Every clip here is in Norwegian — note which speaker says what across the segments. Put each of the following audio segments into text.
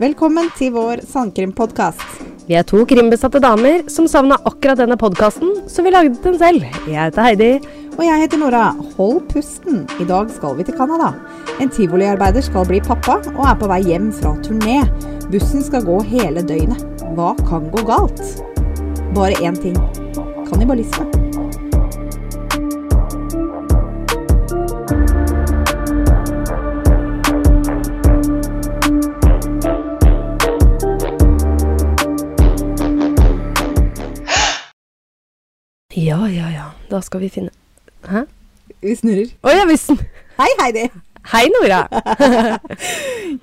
Speaker 1: Velkommen til vår sandkrimpodkast.
Speaker 2: Vi er to krimbesatte damer som savna akkurat denne podkasten, så vi lagde den selv. Jeg heter Heidi.
Speaker 1: Og jeg heter Nora. Hold pusten. I dag skal vi til Canada. En tivoliarbeider skal bli pappa og er på vei hjem fra turné. Bussen skal gå hele døgnet. Hva kan gå galt? Bare én ting. Kannibalisme.
Speaker 2: Ja, ja, ja. Da skal vi finne Hæ?
Speaker 1: Vi snurrer.
Speaker 2: Å ja, visst!
Speaker 1: Hei, Heidi.
Speaker 2: Hei, Nora.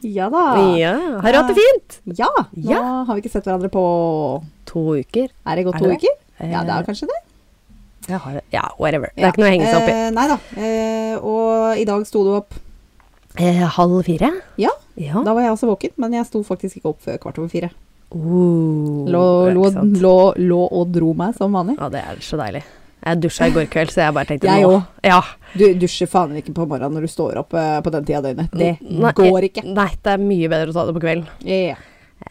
Speaker 1: Ja da.
Speaker 2: Ja, Har du hatt det fint?
Speaker 1: Ja. Nå
Speaker 2: Ja.
Speaker 1: har vi ikke sett hverandre på
Speaker 2: To uker.
Speaker 1: Er det gått
Speaker 2: Er
Speaker 1: to
Speaker 2: det det?
Speaker 1: uker? Ja, det er kanskje det.
Speaker 2: Jeg har det. Ja, whatever. Det er ikke noe å henge seg opp i.
Speaker 1: Eh, nei da. Eh, og i dag sto du opp
Speaker 2: Eh, halv fire?
Speaker 1: Ja,
Speaker 2: Ja.
Speaker 1: da var jeg også våken, men jeg sto faktisk ikke opp før kvart over fire.
Speaker 2: Oh,
Speaker 1: Lå, lå,
Speaker 2: ikke sant?
Speaker 1: lå, lå og dro meg som vanlig.
Speaker 2: Ja, det er så deilig. Jeg dusja i går kveld, så jeg bare tenkte
Speaker 1: Jeg
Speaker 2: nå-
Speaker 1: òg.
Speaker 2: Ja.
Speaker 1: Du dusjer faen ikke på morgenen når du står opp eh, på den tida av døgnet. Det
Speaker 2: Nei, Mm.
Speaker 1: går ikke.
Speaker 2: Nei, det er mye bedre å ta det på kvelden.
Speaker 1: Ja,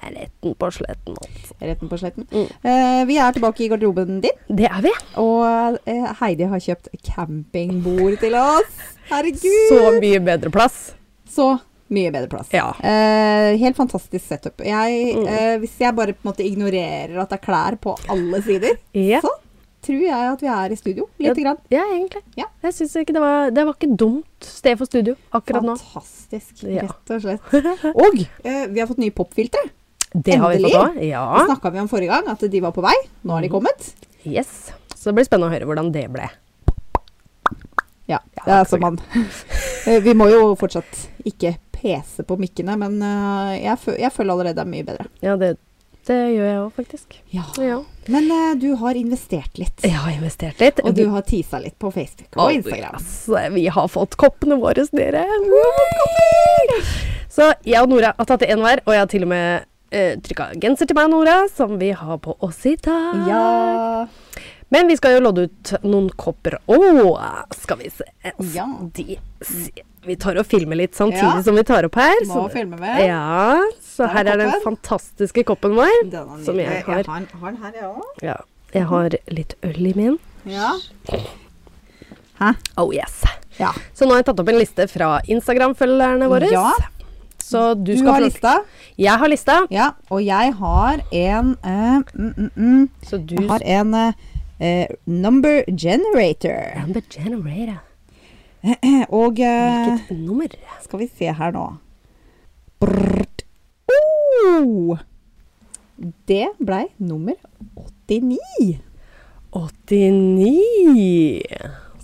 Speaker 2: Jeg er retten på sletten. altså.
Speaker 1: retten på sletten.
Speaker 2: Mm.
Speaker 1: Eh, vi er tilbake i garderoben din,
Speaker 2: Det er vi.
Speaker 1: og eh, Heidi har kjøpt campingbord til oss. Herregud!
Speaker 2: Så mye bedre plass.
Speaker 1: Så mye bedre plass.
Speaker 2: Ja.
Speaker 1: Eh, helt fantastisk setup. Jeg,
Speaker 2: Mm.
Speaker 1: eh, hvis jeg bare på en måte ignorerer at det er klær på alle sider,
Speaker 2: Ja.
Speaker 1: så tror jeg at vi er i studio. Lite grann.
Speaker 2: Ja, egentlig.
Speaker 1: Ja.
Speaker 2: Jeg synes ikke det var Det var ikke dumt sted for studio akkurat nå.
Speaker 1: Fantastisk,
Speaker 2: Ja.
Speaker 1: rett og slett. Og eh, vi har fått nye popfiltre.
Speaker 2: Det har vi
Speaker 1: Endelig.
Speaker 2: fått òg.
Speaker 1: Det
Speaker 2: Ja. Mm.
Speaker 1: snakka vi om forrige gang, at de var på vei. Nå har de kommet.
Speaker 2: Yes. Så det blir spennende å høre hvordan det ble.
Speaker 1: Ja,
Speaker 2: Ja,
Speaker 1: det er
Speaker 2: så
Speaker 1: som man Eh, Vi må jo fortsatt ikke pese på mikkene, men eh, jeg, fø jeg føler allerede det er mye bedre.
Speaker 2: Ja, det, det gjør jeg òg, faktisk.
Speaker 1: Ja.
Speaker 2: Ja.
Speaker 1: Men eh, du har investert litt.
Speaker 2: Jeg har investert litt.
Speaker 1: Og du har teasa litt på Facebook og Instagram.
Speaker 2: Altså, vi har fått koppene våre, dere. Kopper! Så jeg og Nora har tatt det én hver, og jeg har til og med uh, trykka genser til meg og Nora, som vi har på oss i dag.
Speaker 1: Ja.
Speaker 2: Men vi skal jo lodde ut noen kopper. Å, skal vi se.
Speaker 1: Ja.
Speaker 2: De, se. Vi tar og filmer litt samtidig
Speaker 1: Ja.
Speaker 2: som vi tar opp her.
Speaker 1: Må
Speaker 2: så,
Speaker 1: filme med.
Speaker 2: sånn- ja, så
Speaker 1: Der er
Speaker 2: her er den
Speaker 1: koppen.
Speaker 2: fantastiske koppen vår.
Speaker 1: Den er
Speaker 2: Som jeg
Speaker 1: nydelig.
Speaker 2: har.
Speaker 1: den- har den her, jeg òg.
Speaker 2: Ja, jeg har litt øl i min.
Speaker 1: Ja. Hæ?
Speaker 2: Oh yes.
Speaker 1: Ja.
Speaker 2: Så nå har jeg tatt opp en liste fra Instagram-følgerne våre.
Speaker 1: Ja.
Speaker 2: Så du,
Speaker 1: Du,
Speaker 2: skal
Speaker 1: har
Speaker 2: få-
Speaker 1: lista.
Speaker 2: Jeg har lista.
Speaker 1: Ja. Og jeg har en eh, mm, mm, mm.
Speaker 2: Så du
Speaker 1: Jeg har en eh, eh, number generator.
Speaker 2: Amber Generator.
Speaker 1: Og eh,
Speaker 2: Hvilket nummer?
Speaker 1: skal vi se her nå Brrrt. Oh! Det blei nummer 89.
Speaker 2: 89.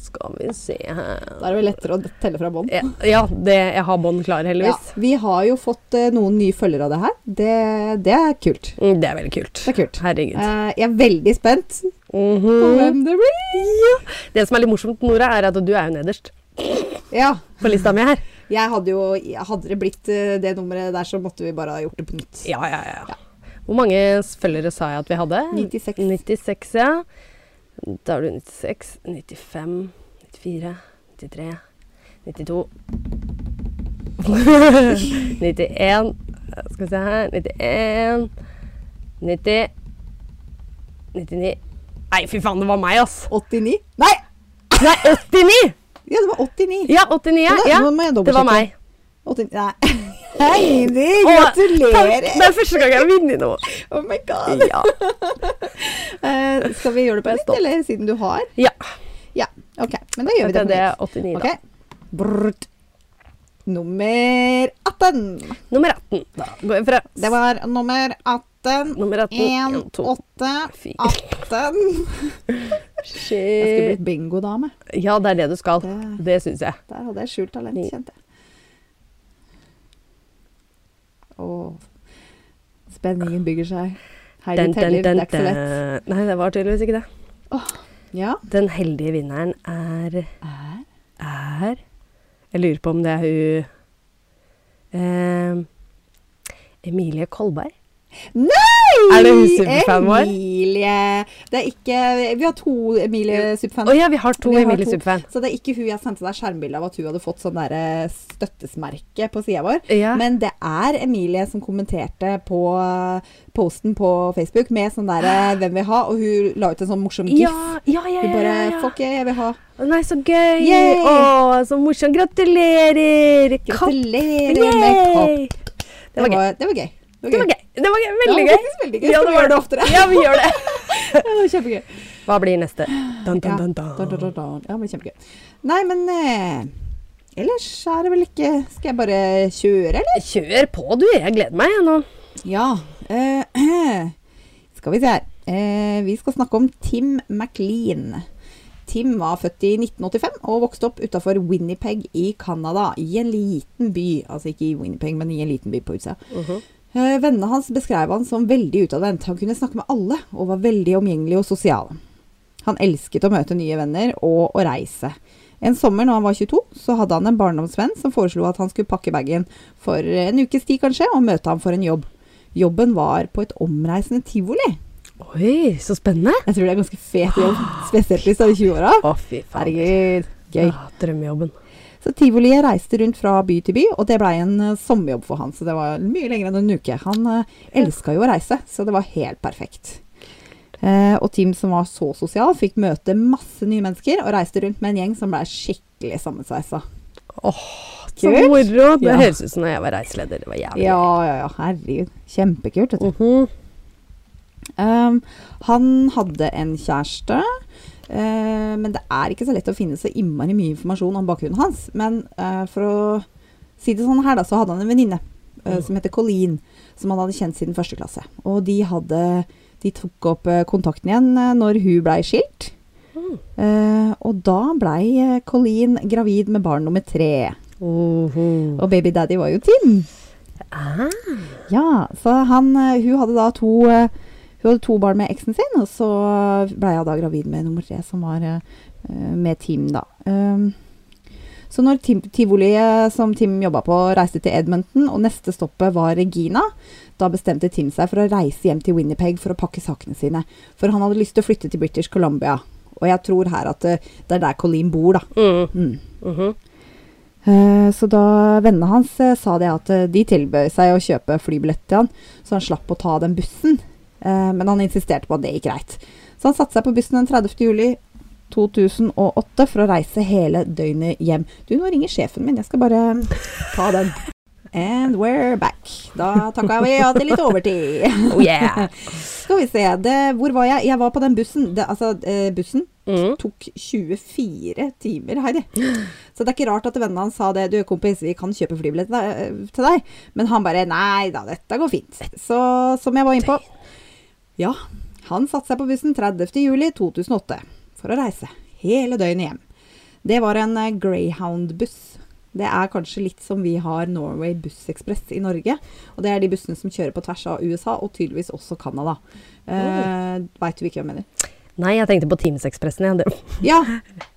Speaker 2: Skal vi se her
Speaker 1: Da er det vel lettere å telle fra bånn.
Speaker 2: Ja, ja det, jeg har bånd klar, heldigvis.
Speaker 1: vi har jo fått eh, noen nye følgere av det her. Det, det er kult.
Speaker 2: Mm, Det er veldig kult.
Speaker 1: Det er kult.
Speaker 2: Herregud.
Speaker 1: Eh, jeg er veldig spent på
Speaker 2: Mhm.
Speaker 1: hvem det blir.
Speaker 2: Det som er litt morsomt, Nora, er at du er jo nederst
Speaker 1: Ja,
Speaker 2: på lista mi her.
Speaker 1: jeg hadde jo Hadde det blitt eh, det nummeret der, så måtte vi bare ha gjort det på nytt.
Speaker 2: Ja, ja, ja. Hvor mange følgere sa jeg at vi hadde?
Speaker 1: 96.
Speaker 2: 96, ja. Da har du 96, 95, 94, 93, 92 91 Skal vi se her 91 90 99 Nei, fy faen, det var meg, ass!
Speaker 1: 89? Nei!
Speaker 2: Nei, 89!
Speaker 1: Ja, det var 89.
Speaker 2: Ja, 89. Ja,
Speaker 1: Nå da-
Speaker 2: ja.
Speaker 1: nå må jeg
Speaker 2: Det var
Speaker 1: dobbeltsjekke.
Speaker 2: meg.
Speaker 1: 89. Nei. Heidi,
Speaker 2: Å, takk. Det
Speaker 1: gratulerer!
Speaker 2: er første gang jeg har vunnet noe.
Speaker 1: Oh my god.
Speaker 2: Ja.
Speaker 1: Eh, skal vi gjøre det på nytt,
Speaker 2: Stopp.
Speaker 1: eller siden du har?
Speaker 2: ja.
Speaker 1: Ja, OK. Men da gjør vi
Speaker 2: Det
Speaker 1: det
Speaker 2: er
Speaker 1: på
Speaker 2: det
Speaker 1: nytt.
Speaker 2: 89, da.
Speaker 1: Ok. Brrrt. Nummer 18.
Speaker 2: Nummer 18. Da går jeg fra
Speaker 1: Det var nummer 18.
Speaker 2: nummer 18.
Speaker 1: 1, 8,
Speaker 2: 4.
Speaker 1: 18 Jeg
Speaker 2: Eh.
Speaker 1: skulle blitt bingodame.
Speaker 2: Ja, det er det du skal.
Speaker 1: Det-
Speaker 2: Det syns jeg.
Speaker 1: Der hadde jeg skjult talent,
Speaker 2: Ni.
Speaker 1: kjente jeg. Åh. Spenningen bygger seg. Heidi
Speaker 2: Dun, dun,
Speaker 1: teller,
Speaker 2: dun,
Speaker 1: det er ikke så lett.
Speaker 2: dun. Nei, det var tydeligvis ikke det.
Speaker 1: Ja.
Speaker 2: Den heldige vinneren er
Speaker 1: Er.
Speaker 2: er Jeg lurer på om det er hun eh, Emilie Kolberg.
Speaker 1: Nei!
Speaker 2: Er det hun superfan vår?
Speaker 1: Emilie. Det er ikke Vi har to Emilie-superfans.
Speaker 2: Å ja, vi har to
Speaker 1: Vi har
Speaker 2: Emilie
Speaker 1: to.
Speaker 2: Superfan.
Speaker 1: Så det er ikke hun jeg sendte deg skjermbilde av at hun hadde fått sånn der eh, støttesmerke på sida vår.
Speaker 2: Ja.
Speaker 1: Men det er Emilie som kommenterte på eh, posten på Facebook med sånn der eh, 'Hvem vil ha?' og hun la ut en sånn morsom gif.
Speaker 2: Ja, ja, ja,
Speaker 1: Hun
Speaker 2: ja,
Speaker 1: bare
Speaker 2: ja, ja.
Speaker 1: 'Fuck yeah, jeg vil ha'.
Speaker 2: Å, Nei, så gøy!
Speaker 1: Yay!
Speaker 2: Å, så morsomt. Gratulerer! Kapp.
Speaker 1: Gratulerer med kopp.
Speaker 2: Yay! Det var gøy.
Speaker 1: det var gøy.
Speaker 2: Det var gøy. Det var gøy. Veldig
Speaker 1: Ja,
Speaker 2: gøy.
Speaker 1: faktisk veldig gøy.
Speaker 2: Ja,
Speaker 1: Skal vi
Speaker 2: det var
Speaker 1: gjøre det oftere?
Speaker 2: Ja, vi gjør det.
Speaker 1: Det var kjempegøy.
Speaker 2: Hva blir neste?
Speaker 1: Ja.
Speaker 2: Dun, dun, dun, dun.
Speaker 1: Dun, dun, dun, dun. ja, men kjempegøy. Nei, men eh, ellers er det vel ikke Skal jeg bare kjøre, eller?
Speaker 2: Kjør på, du. Jeg gleder meg jeg, nå.
Speaker 1: Ja. eh, skal vi se her. Eh, vi skal snakke om Tim McLean. Tim var født i 1985 og vokste opp utafor Winnipeg i Canada, i en liten by. Altså ikke i Winnipeg, men i en liten by på utsida.
Speaker 2: Mhm.
Speaker 1: Eh, Vennene hans beskrev han som veldig utadvendt. Han kunne snakke med alle, og var veldig omgjengelig og sosial. Han elsket å møte nye venner og å reise. En sommer når han var 22, så hadde han en barndomsvenn som foreslo at han skulle pakke bagen for en ukes tid kanskje, og møte ham for en jobb. Jobben var på et omreisende tivoli.
Speaker 2: Oi, så spennende.
Speaker 1: Jeg tror det er ganske fet jobb, spesielt hvis du er i 20-åra.
Speaker 2: Å, fy faen.
Speaker 1: Herregud, gøy.
Speaker 2: Ja, drømmejobben.
Speaker 1: Så tivoliet reiste rundt fra by til by, og det blei en eh, sommerjobb for han. Så det var mye lenger enn en uke. Han uh, elska jo å reise, så det var helt perfekt. Eh, og Tim, som var så sosial, fikk møte masse nye mennesker, og reiste rundt med en gjeng som blei skikkelig sammensveisa.
Speaker 2: Så
Speaker 1: Kult.
Speaker 2: moro. Det
Speaker 1: Ja.
Speaker 2: høres ut som da jeg var reiseleder. Det var jævlig.
Speaker 1: Ja, ja, ja. Herregud. Kjempekult. Vet du.
Speaker 2: Mhm.
Speaker 1: Um, han hadde en kjæreste, eh, men det er ikke så lett å finne så innmari mye informasjon om bakgrunnen hans. Men eh, for å si det sånn her, da, så hadde han en venninne eh, som heter Colleen, som han hadde kjent siden første klasse. Og de, hadde, de tok opp eh, kontakten igjen eh, når hun blei skilt.
Speaker 2: Mm.
Speaker 1: Eh, og da blei eh, Colleen gravid med barn nummer tre.
Speaker 2: Mhm.
Speaker 1: Og baby daddy var jo Tim.
Speaker 2: Ah,
Speaker 1: Ja, så han, eh, hun hadde da to, eh, hun hadde to barn med eksen sin, og så ble jeg da gravid med nummer tre, som var eh, eh, med Tim, da. Um, så når Tim- tivoliet som Tim jobba på, reiste til Edmonton, og neste stoppet var Regina, da bestemte Tim seg for å reise hjem til Winnipeg for å pakke sakene sine. For han hadde lyst til å flytte til British Columbia, og jeg tror her at eh, det er der Colleen bor, da.
Speaker 2: Mm.
Speaker 1: Mm.
Speaker 2: Mhm.
Speaker 1: Eh, Så da vennene hans eh, sa det at eh, de tilbød seg å kjøpe flybillett til han, så han slapp å ta den bussen. Eh, Men han insisterte på at det gikk greit. Så han satte seg på bussen den 30. juli 2008 for å reise hele døgnet hjem. Du, nå ringer sjefen min, jeg skal bare eh, ta den. And we're back. Da takka vi ja til litt overtid.
Speaker 2: Oh yeah.
Speaker 1: Skal vi se, det, hvor var jeg? Jeg var på den bussen. Det, altså, eh, bussen
Speaker 2: Mm.
Speaker 1: tok 24 timer, Heidi. Så det er ikke rart at vennene hans sa det. Du, kompis, vi kan kjøpe flybillett da- til deg. Men han bare Nei da, dette går fint. Så som jeg var innpå Ja, han satte seg på bussen 30. juli 2008 for å reise hele døgnet hjem. Det var en eh, Greyhound-buss. Det er kanskje litt som vi har Norway Buss Express i Norge. Og det er de bussene som kjører på tvers av USA, og tydeligvis også Canada. Uh, Veit du ikke hva jeg mener?
Speaker 2: Nei, jeg tenkte på Teamsekspressen. Ja. Det-
Speaker 1: Ja,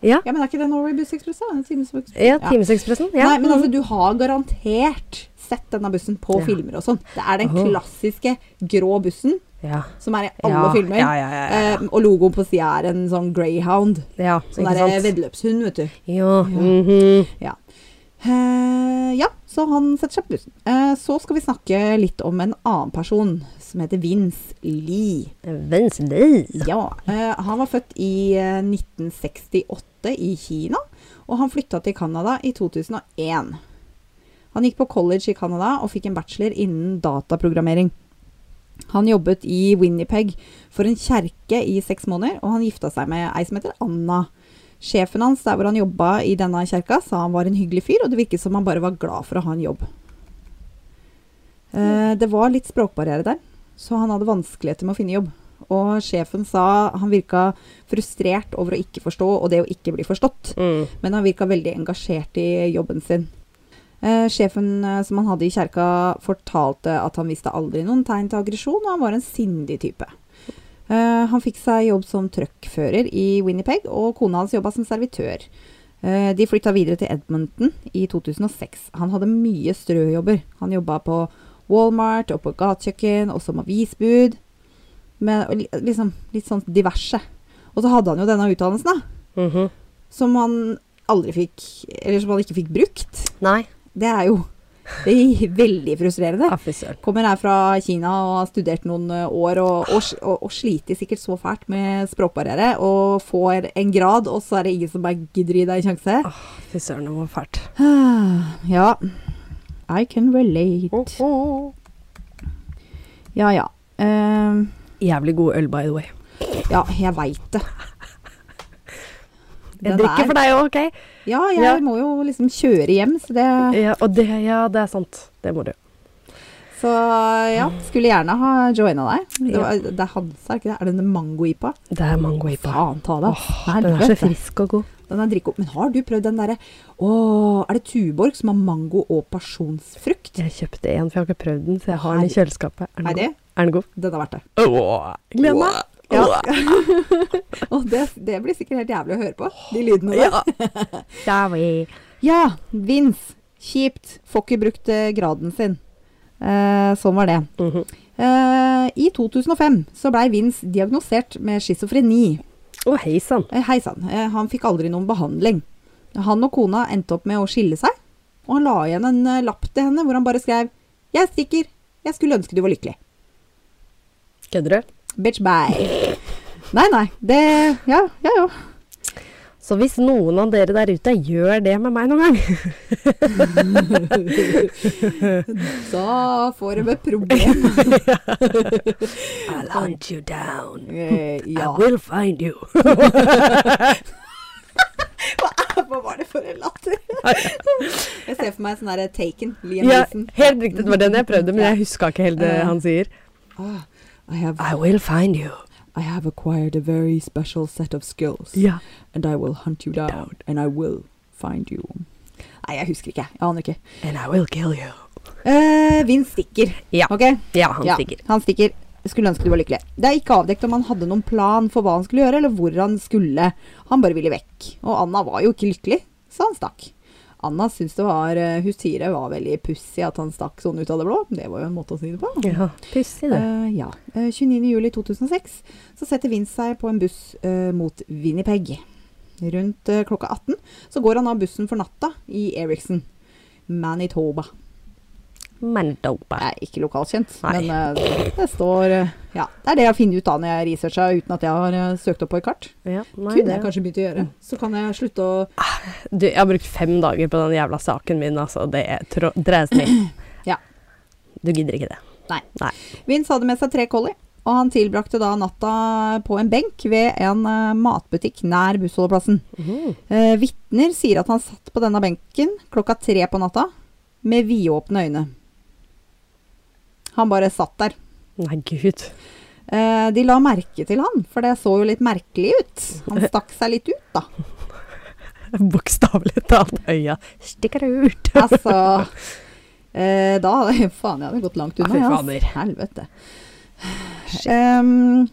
Speaker 2: ja.
Speaker 1: ja, men er ikke det Norway Bus Express, da? Den timen som- Ja.
Speaker 2: ja, Teamsekspressen. Ja.
Speaker 1: Nei, men altså, du har garantert sett denne bussen på
Speaker 2: Ja.
Speaker 1: filmer og sånn. Det er den
Speaker 2: Åhå.
Speaker 1: klassiske grå bussen
Speaker 2: ja.
Speaker 1: som er i alle
Speaker 2: Ja,
Speaker 1: filmer.
Speaker 2: ja, ja, ja, ja.
Speaker 1: Eh, og logoen på sida er en sånn greyhound.
Speaker 2: ja.
Speaker 1: Sånn
Speaker 2: ikke
Speaker 1: der
Speaker 2: sant?
Speaker 1: veddeløpshund, vet du.
Speaker 2: eh, Ja. mhm.
Speaker 1: Ja. Eh, ja, så han setter seg på bussen. Eh, så skal vi snakke litt om en annen person som heter Vince Lee.
Speaker 2: Vensley.
Speaker 1: Ja, eh, han var født i eh, 1968 i Kina, og han flytta til Canada i 2001. Han gikk på college i Canada og fikk en bachelor innen dataprogrammering. Han jobbet i Winnipeg for en kjerke i seks måneder, og han gifta seg med ei som heter Anna. Sjefen hans der hvor han jobba i denne kjerka, sa han var en hyggelig fyr, og det virket som han bare var glad for å ha en jobb. Eh, det var litt språkbarriere der, så han hadde vanskeligheter med å finne jobb. Og sjefen sa han virka frustrert over å ikke forstå og det å ikke bli forstått,
Speaker 2: Mm.
Speaker 1: men han virka veldig engasjert i jobben sin. Eh, sjefen eh, som han hadde i kjerka, fortalte at han viste aldri noen tegn til aggresjon, og han var en sindig type. Eh, han fikk seg jobb som truckfører i Winnipeg, og kona hans jobba som servitør. Eh, de flytta videre til Edmonton i 2006. Han hadde mye strøjobber. Han jobba på Walmart og på gatekjøkken, og som avisbud. Men, og li- liksom litt sånn diverse. Og så hadde han jo denne utdannelsen, da,
Speaker 2: Mhm.
Speaker 1: som han aldri fikk Eller som han ikke fikk brukt.
Speaker 2: Nei.
Speaker 1: Det er jo det er veldig frustrerende.
Speaker 2: Ja, fy søren.
Speaker 1: Kommer her fra Kina og har studert noen eh, år og, og, s- og, og sliter sikkert så fælt med språkbarriere og får en grad, og så er det ingen som bare gidder å gi deg en sjanse.
Speaker 2: Åh, Fy søren, det var fælt.
Speaker 1: Ja. I can relate. Ja, ja. Ehm,
Speaker 2: Jævlig god øl, by the way.
Speaker 1: ja, jeg veit det.
Speaker 2: Jeg
Speaker 1: Den
Speaker 2: drikker
Speaker 1: er-
Speaker 2: for deg òg, OK?
Speaker 1: Ja, jeg
Speaker 2: Ja.
Speaker 1: må jo liksom kjøre hjem, så det
Speaker 2: Ja, og det, ja, det er sant. Det må du.
Speaker 1: Så ja, skulle gjerne ha joina deg. Det,
Speaker 2: Ja.
Speaker 1: var, det er Hansa, er ikke det? Er det denne mango-ipa?
Speaker 2: Det er mango ipa.
Speaker 1: Faen ta det. ass.
Speaker 2: Den er så
Speaker 1: Helvete.
Speaker 2: frisk og god.
Speaker 1: Den er drikk opp. Men har du prøvd den derre Å, er det Tuborg som har mango og pasjonsfrukt?
Speaker 2: Jeg kjøpte en, for jeg har ikke prøvd den, så jeg har den i kjøleskapet. Er
Speaker 1: Er
Speaker 2: den
Speaker 1: det?
Speaker 2: god? Er den god?
Speaker 1: Den er verdt det.
Speaker 2: Åh, Gleder meg.
Speaker 1: Ja.
Speaker 2: Åh.
Speaker 1: Og det, det blir sikkert helt jævlig å høre på, de lydene der.
Speaker 2: Ja. Sorry.
Speaker 1: Ja, Vince. Kjipt. Får ikke brukt eh, graden sin. Eh, sånn var det.
Speaker 2: Mhm.
Speaker 1: Eh, I 2005 så blei Vince diagnosert med schizofreni.
Speaker 2: Å, hei sann.
Speaker 1: Eh, Hei sann, eh, han fikk aldri noen behandling. Han og kona endte opp med å skille seg, og han la igjen en eh, lapp til henne hvor han bare skrev 'Jeg stikker. Jeg skulle ønske du var lykkelig'.
Speaker 2: Kødder du?
Speaker 1: Bitch bye. Nei, nei. Det Ja, ja, ja.
Speaker 2: Så hvis noen av dere der ute gjør det med meg noen gang
Speaker 1: Da får de et problem.
Speaker 2: I'll hunt you down.
Speaker 1: Eh, ja.
Speaker 2: I will find you.
Speaker 1: Hva var det for en latter? Jeg ser for meg sånn derre Taken. Liam
Speaker 2: Ja,
Speaker 1: Neeson.
Speaker 2: helt riktig, det var den jeg prøvde, men jeg huska ikke helt det
Speaker 1: Ja.
Speaker 2: han sier.
Speaker 1: Ah, I, have,
Speaker 2: I will find you.
Speaker 1: I have acquired a very special set of skills.
Speaker 2: Ja.
Speaker 1: And I will hunt you down. And I will find you. Nei, jeg husker ikke. Jeg aner ikke.
Speaker 2: And I will kill you.
Speaker 1: Eh, Vince stikker.
Speaker 2: Ja.
Speaker 1: Ok?
Speaker 2: Ja, han
Speaker 1: Ja,
Speaker 2: stikker.
Speaker 1: Han stikker. Skulle ønske du var lykkelig. Det er ikke avdekt om han hadde noen plan for hva han skulle gjøre, eller hvor han skulle. Han bare ville vekk. Og Anna var jo ikke lykkelig, så han stakk. Anna syntes det var eh, Hun Sire var veldig pussig at han stakk sånn ut av det blå. Det var jo en måte å si det på.
Speaker 2: Ja, pussig det.
Speaker 1: Eh, ja. Eh, 29. juli 2006 så setter Vince seg på en buss eh, mot Winnipeg. Rundt eh, klokka 18 så går han av bussen for natta i Eriksen. Manitoba.
Speaker 2: Mandoba.
Speaker 1: Det er ikke lokalkjent,
Speaker 2: Nei.
Speaker 1: men eh, det står eh, Ja, det er det jeg finner ut da når jeg researcher uten at jeg har eh, søkt opp på et kart.
Speaker 2: Ja, nei,
Speaker 1: Kunne
Speaker 2: det-
Speaker 1: jeg kanskje begynt å gjøre. Så kan jeg slutte å
Speaker 2: Du, jeg har brukt fem dager på den jævla saken min, altså. Det er trå- dreies ned.
Speaker 1: Ja.
Speaker 2: Du gidder ikke det.
Speaker 1: Nei.
Speaker 2: Nei.
Speaker 1: Vince hadde med seg tre collie, og han tilbrakte da natta på en benk ved en eh, matbutikk nær bussholdeplassen.
Speaker 2: Mhm.
Speaker 1: Eh, Vitner sier at han satt på denne benken klokka tre på natta med vidåpne øyne. Han bare satt der.
Speaker 2: Nei, gud.
Speaker 1: Eh, De la merke til han, for det så jo litt merkelig ut. Han stakk seg litt ut, da.
Speaker 2: Bokstavelig talt. Øya stikker ut.
Speaker 1: Altså eh, Da Faen, jeg hadde gått langt unna.
Speaker 2: Fy
Speaker 1: ja, ass.
Speaker 2: fader.
Speaker 1: Helvete. Ehm,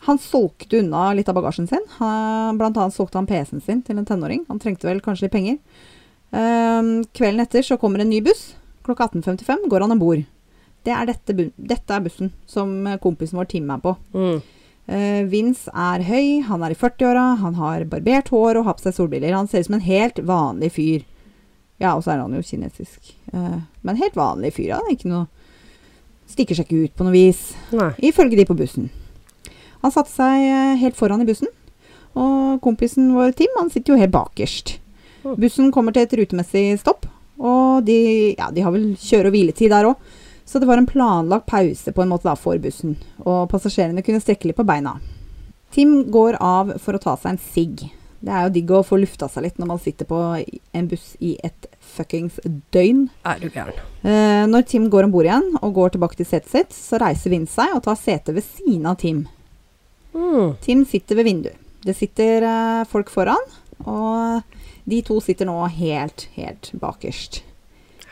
Speaker 1: han solgte unna litt av bagasjen sin. Han, blant annet solgte han PC-en sin til en tenåring. Han trengte vel kanskje litt penger. Ehm, kvelden etter så kommer en ny buss. Klokka 18.55 går han om bord. Det er dette, bu- dette er bussen som eh, kompisen vår Tim er på.
Speaker 2: Mm.
Speaker 1: Eh, Vince er høy, han er i 40-åra, han har barbert hår og har på seg solbriller. Han ser ut som en helt vanlig fyr. Ja, og så er han jo kinesisk. Eh, men helt vanlig fyr. Han er ikke noe Stikker seg ikke ut på noe vis,
Speaker 2: Nei.
Speaker 1: ifølge de på bussen. Han satte seg eh, helt foran i bussen, og kompisen vår Tim han sitter jo helt bakerst.
Speaker 2: Mm.
Speaker 1: Bussen kommer til et rutemessig stopp, og de, ja, de har vel kjøre- og hviletid der òg. Så det var en planlagt pause på en måte da for bussen, og passasjerene kunne strekke litt på beina. Tim går av for å ta seg en sigg. Det er jo digg å få lufta seg litt når man sitter på en buss i et fuckings døgn.
Speaker 2: Er du gæren.
Speaker 1: Eh, når Tim går om bord igjen og går tilbake til setet sitt, så reiser Vince seg og tar setet ved siden av Tim.
Speaker 2: Mm.
Speaker 1: Tim sitter ved vinduet. Det sitter eh, folk foran, og de to sitter nå helt, helt bakerst.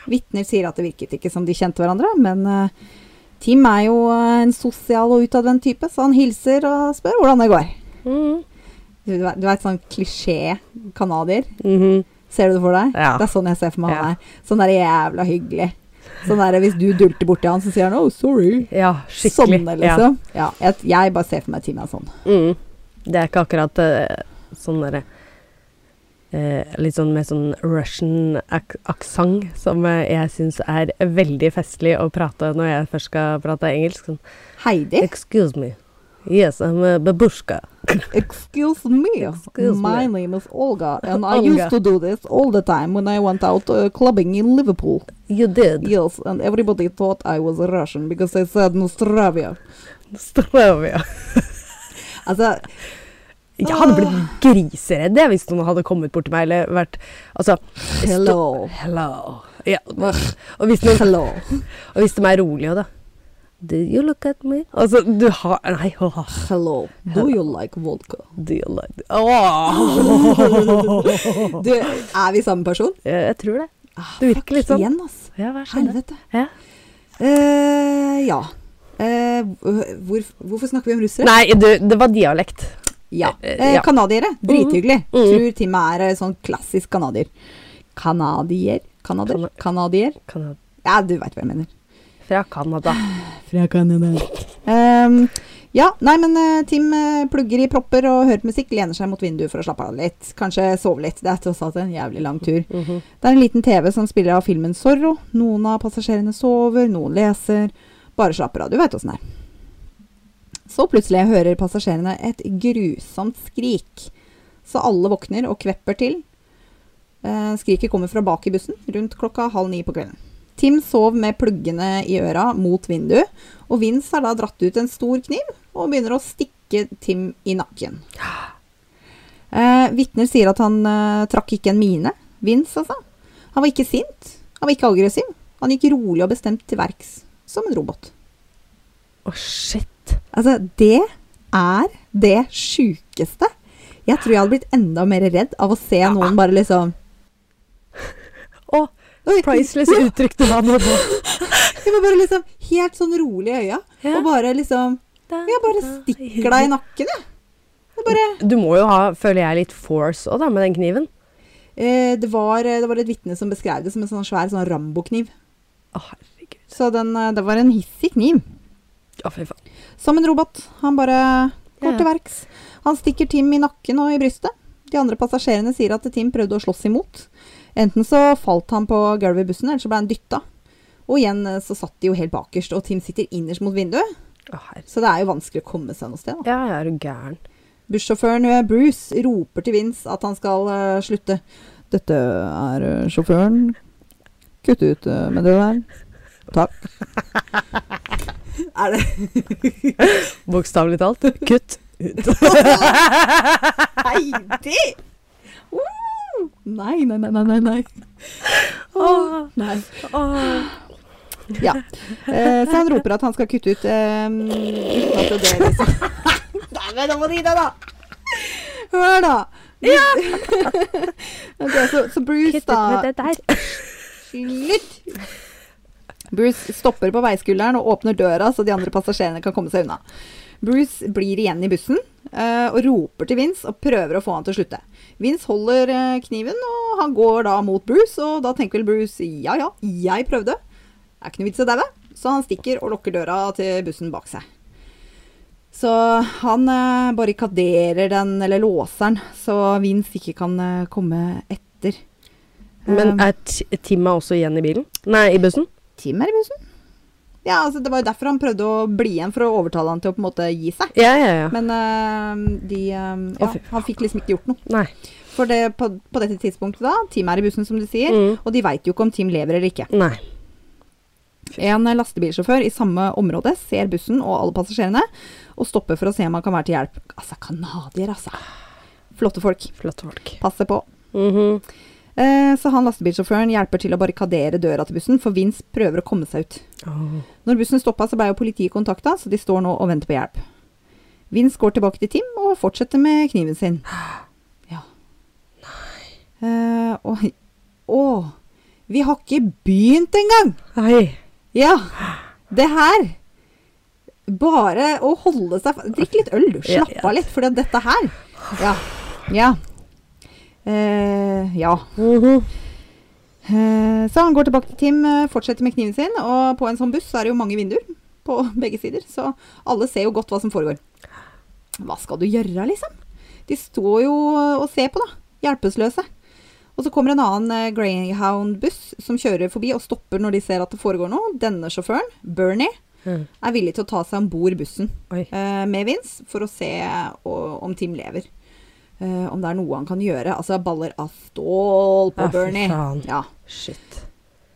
Speaker 1: Vitner sier at det virket ikke som de kjente hverandre, men eh, Tim er jo eh, en sosial og utadvendt type, så han hilser og spør hvordan det går.
Speaker 2: Mm.
Speaker 1: Du, vet- du veit sånn klisjé canadier?
Speaker 2: Mhm.
Speaker 1: Ser du det for deg?
Speaker 2: Ja.
Speaker 1: Det er sånn jeg ser for meg
Speaker 2: Ja.
Speaker 1: han er. Sånn der jævla hyggelig. Sånn der, Hvis du dulter borti han, så sier han 'oh, sorry'.
Speaker 2: Ja, skikkelig.
Speaker 1: Sånne, liksom. Ja. jeg, jeg bare ser for meg Tina sånn.
Speaker 2: Ja. Mm. Det er ikke akkurat eh, sånn derre eh, Litt sånn med sånn Russian ak aksent, som eh, jeg syns er veldig festlig å prate når jeg først skal prate engelsk. Sånn
Speaker 1: Heidi,
Speaker 2: Excuse me. Yes, I'm a babushka.
Speaker 1: excuse me.
Speaker 2: Excuse me.
Speaker 1: My name is Olga, and I
Speaker 2: Olga.
Speaker 1: used to do this all the time when I went out uh, clubbing in Liverpool.
Speaker 2: You did.
Speaker 1: Yes, and everybody thought I was Russian because I said Nostravia.
Speaker 2: Stravia.
Speaker 1: Altså,
Speaker 2: Jeg hadde blitt griseredd jeg, hvis noen hadde kommet bort til meg eller vært Altså
Speaker 1: hello.
Speaker 2: Hello. Ja. Og hvis noen
Speaker 1: Hello.
Speaker 2: Og hvis de er rolige, da. Do you look at me? Altså, du har Nei, åh.
Speaker 1: Hello. Do you like vodka?
Speaker 2: Do you like Åh.
Speaker 1: Du, er vi samme person?
Speaker 2: Jeg, jeg tror det.
Speaker 1: Ah,
Speaker 2: Det virker
Speaker 1: fuck
Speaker 2: litt sånn.
Speaker 1: Igjen, ass.
Speaker 2: Ja, hva skjer det?
Speaker 1: Helvete.
Speaker 2: Ja.
Speaker 1: Eh, ja. Eh, hvor, hvorfor snakker vi om russere?
Speaker 2: Nei, du, det var dialekt.
Speaker 1: Ja.
Speaker 2: Eh,
Speaker 1: Eh,
Speaker 2: ja.
Speaker 1: Kanadiere. Drithyggelig.
Speaker 2: Mm.
Speaker 1: Tror Tim er eh, sånn klassisk kanadier. Kanadier? Kanadier?
Speaker 2: Kana-
Speaker 1: Kanadier?
Speaker 2: Kana-
Speaker 1: Ja, du veit hva jeg mener.
Speaker 2: Fra Canada.
Speaker 1: Fra Canada. Ehm, ja, nei, men eh, Tim eh, plugger i propper og hører på musikk, lener seg mot vinduet for å slappe av litt. Kanskje sove litt. Det er tross alt en jævlig lang tur.
Speaker 2: Mhm.
Speaker 1: Det er en liten TV som spiller av filmen Zorro. Noen av passasjerene sover, noen leser. Bare slapper av, du veit åssen det er. Så plutselig hører passasjerene et grusomt skrik. Så alle våkner og kvepper til. Eh, Skriket kommer fra bak i bussen, rundt klokka halv ni på kvelden. Tim sov med pluggene i øra mot vinduet, og Vince har da dratt ut en stor kniv og begynner å stikke Tim i nakken. Eh, Vitner sier at han eh, trakk ikke en mine. Vince, altså. Han var ikke sint. Han var ikke aggressiv. Han gikk rolig og bestemt til verks, som en robot.
Speaker 2: Å, shit.
Speaker 1: Altså, det er det sjukeste. Jeg tror jeg hadde blitt enda mer redd av å se noen bare liksom
Speaker 2: Å,
Speaker 1: Oi,
Speaker 2: priceless uttrykk du hadde nå.
Speaker 1: Jeg var bare liksom helt sånn rolig i øya,
Speaker 2: Ja.
Speaker 1: og bare liksom Jeg bare stikker deg i nakken, jeg. Det, bare,
Speaker 2: Du må jo ha, føler jeg, litt force òg, da, med den kniven.
Speaker 1: eh, det, var, det var et vitne som beskrev det som en sånn svær sånn Rambo-kniv.
Speaker 2: Å, herregud.
Speaker 1: Så den, eh, det var en hissig kniv.
Speaker 2: Å, fy faen.
Speaker 1: Som en robot. Han bare går
Speaker 2: Ja.
Speaker 1: til verks. Han stikker Tim i nakken og i brystet. De andre passasjerene sier at Tim prøvde å slåss imot. Enten så falt han på gulvet i bussen, eller så ble han dytta. Og igjen eh, så satt de jo helt bakerst, og Tim sitter innerst mot vinduet,
Speaker 2: Å, herregud.
Speaker 1: så det er jo vanskelig å komme seg noe sted. da.
Speaker 2: Ja, ja, er du gæren.
Speaker 1: Bussjåføren eh, Bruce roper til Vince at han skal eh, slutte. Dette er eh, sjåføren. Kutt ut eh, med det der. Takk. er det
Speaker 2: Bokstavelig talt. Kutt ut.
Speaker 1: Heidi? Uh! Nei, nei, nei, nei, nei, nei.
Speaker 2: Åh,
Speaker 1: nei.
Speaker 2: åh.
Speaker 1: Ja. Eh, så han roper at han skal kutte ut eh, uten at det er liksom Nei, men nå må du gi deg, da! Hør, da. Ja! så, så Bruce,
Speaker 2: Kutt ut
Speaker 1: da.
Speaker 2: med det der.
Speaker 1: Slutt! Bruce stopper på veiskulderen og åpner døra så de andre passasjerene kan komme seg unna. Bruce blir igjen i bussen eh, og roper til Vince og prøver å få han til å slutte. Vince holder eh, kniven, og han går da mot Bruce, og da tenker vel Bruce ja ja, jeg prøvde. Det er ikke noe vits i å daue. Så han stikker og lukker døra til bussen bak seg. Så han eh, barrikaderer den, eller låser den, så Vince ikke kan eh, komme etter.
Speaker 2: Men
Speaker 1: Eh,
Speaker 2: er Ti- Timma også igjen i bilen? Nei, i bussen?
Speaker 1: Tim er i bussen. Ja, altså Det var jo derfor han prøvde å bli igjen, for å overtale han til å på en måte gi seg.
Speaker 2: Ja, ja, ja.
Speaker 1: Men eh, de eh,
Speaker 2: Å,
Speaker 1: Ja,
Speaker 2: fy
Speaker 1: han fikk liksom ikke gjort noe.
Speaker 2: Nei.
Speaker 1: For det, på, på dette tidspunktet da, Tim er i bussen, som du sier,
Speaker 2: Mm.
Speaker 1: og de veit jo ikke om Tim lever eller ikke.
Speaker 2: Nei.
Speaker 1: En eh, lastebilsjåfør i samme område ser bussen og alle passasjerene, og stopper for å se om han kan være til hjelp. Altså, canadier, altså. Flotte folk.
Speaker 2: Flotte folk.
Speaker 1: Passer på.
Speaker 2: Mhm.
Speaker 1: Eh, så han lastebilsjåføren hjelper til å barrikadere døra til bussen, for Vince prøver å komme seg ut.
Speaker 2: Åh.
Speaker 1: Når bussen stoppa, så ble jo politiet kontakta, så de står nå og venter på hjelp. Vince går tilbake til Tim og fortsetter med kniven sin. Ja. Nei Å, Eh, å Vi har ikke begynt engang!
Speaker 2: Nei.
Speaker 1: Ja. Det her Bare å holde seg fa- Drikk litt øl, du.
Speaker 2: Ja,
Speaker 1: Slapp
Speaker 2: ja.
Speaker 1: av litt, for dette her Ja. Ja. Eh, ja.
Speaker 2: Mhm.
Speaker 1: Eh, Så han går tilbake til Tim, eh, fortsetter med kniven sin, og på en sånn buss så er det jo mange vinduer på begge sider, så alle ser jo godt hva som foregår. Hva skal du gjøre, liksom? De står jo og ser på, da. Hjelpeløse. Og så kommer en annen eh, Greyhound-buss som kjører forbi og stopper når de ser at det foregår noe. Denne sjåføren, Bernie,
Speaker 2: Mm.
Speaker 1: er villig til å ta seg om bord bussen
Speaker 2: Oi.
Speaker 1: eh, med Vince for å se og, om Tim lever. Eh, om det er noe han kan gjøre. Altså baller av stål på
Speaker 2: Ja, Ah, fy
Speaker 1: Bernie.
Speaker 2: faen.
Speaker 1: Ja.
Speaker 2: Shit.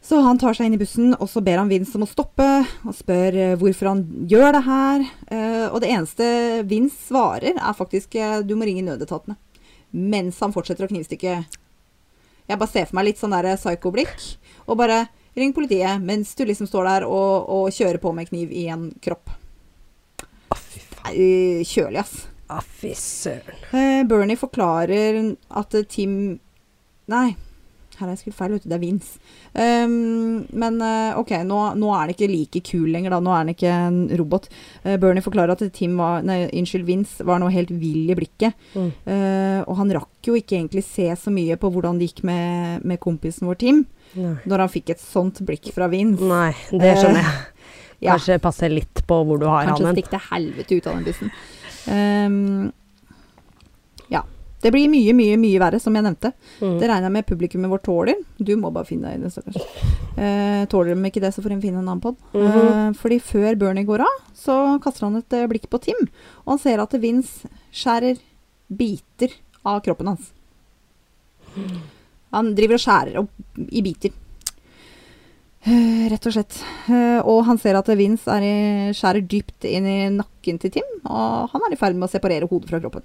Speaker 1: Så han tar seg inn i bussen, og så ber han Vince om å stoppe, og spør eh, hvorfor han gjør det her. Eh, og det eneste Vince svarer, er faktisk eh, 'du må ringe nødetatene'. Mens han fortsetter å knivstikke. Jeg bare ser for meg litt sånn der psycho-blikk, og bare 'ring politiet' mens du liksom står der og, og kjører på med kniv i en kropp.
Speaker 2: Å, fy faen.
Speaker 1: Nei, Kjølig, ass.
Speaker 2: Å, fy søren.
Speaker 1: Eh, Bernie forklarer at eh, Tim Nei, her har jeg skrevet feil, vet du. Det er Vince. Ehm, men eh, OK, nå, nå er han ikke like kul lenger, da. Nå er han ikke en robot. Eh, Bernie forklarer at Tim var Nei, unnskyld, Vince var nå helt vill i blikket.
Speaker 2: Mm.
Speaker 1: Eh, og han rakk jo ikke egentlig se så mye på hvordan det gikk med, med kompisen vår Tim,
Speaker 2: Nei.
Speaker 1: når han fikk et sånt blikk fra Vince.
Speaker 2: Nei, det skjønner jeg.
Speaker 1: ja.
Speaker 2: Kanskje passe litt på hvor du har
Speaker 1: Kanskje
Speaker 2: han hen.
Speaker 1: stikk til helvete ut av den bussen. Ehm, ja. Det blir mye, mye, mye verre, som jeg nevnte.
Speaker 2: Mm.
Speaker 1: Det regner jeg med publikummet vårt tåler. Du må bare finne deg i det, stakkars. Eh, tåler de ikke det, så får de finne en annen pod.
Speaker 2: Mhm.
Speaker 1: eh, fordi før Bernie går av, så kaster han et eh, blikk på Tim, og han ser at Vince skjærer biter av kroppen hans. Han driver og skjærer opp i biter. Eh, rett og slett. Eh, og han ser at Vince er i, skjærer dypt inn i nakken til Tim, og han er i ferd med å separere hodet fra kroppen.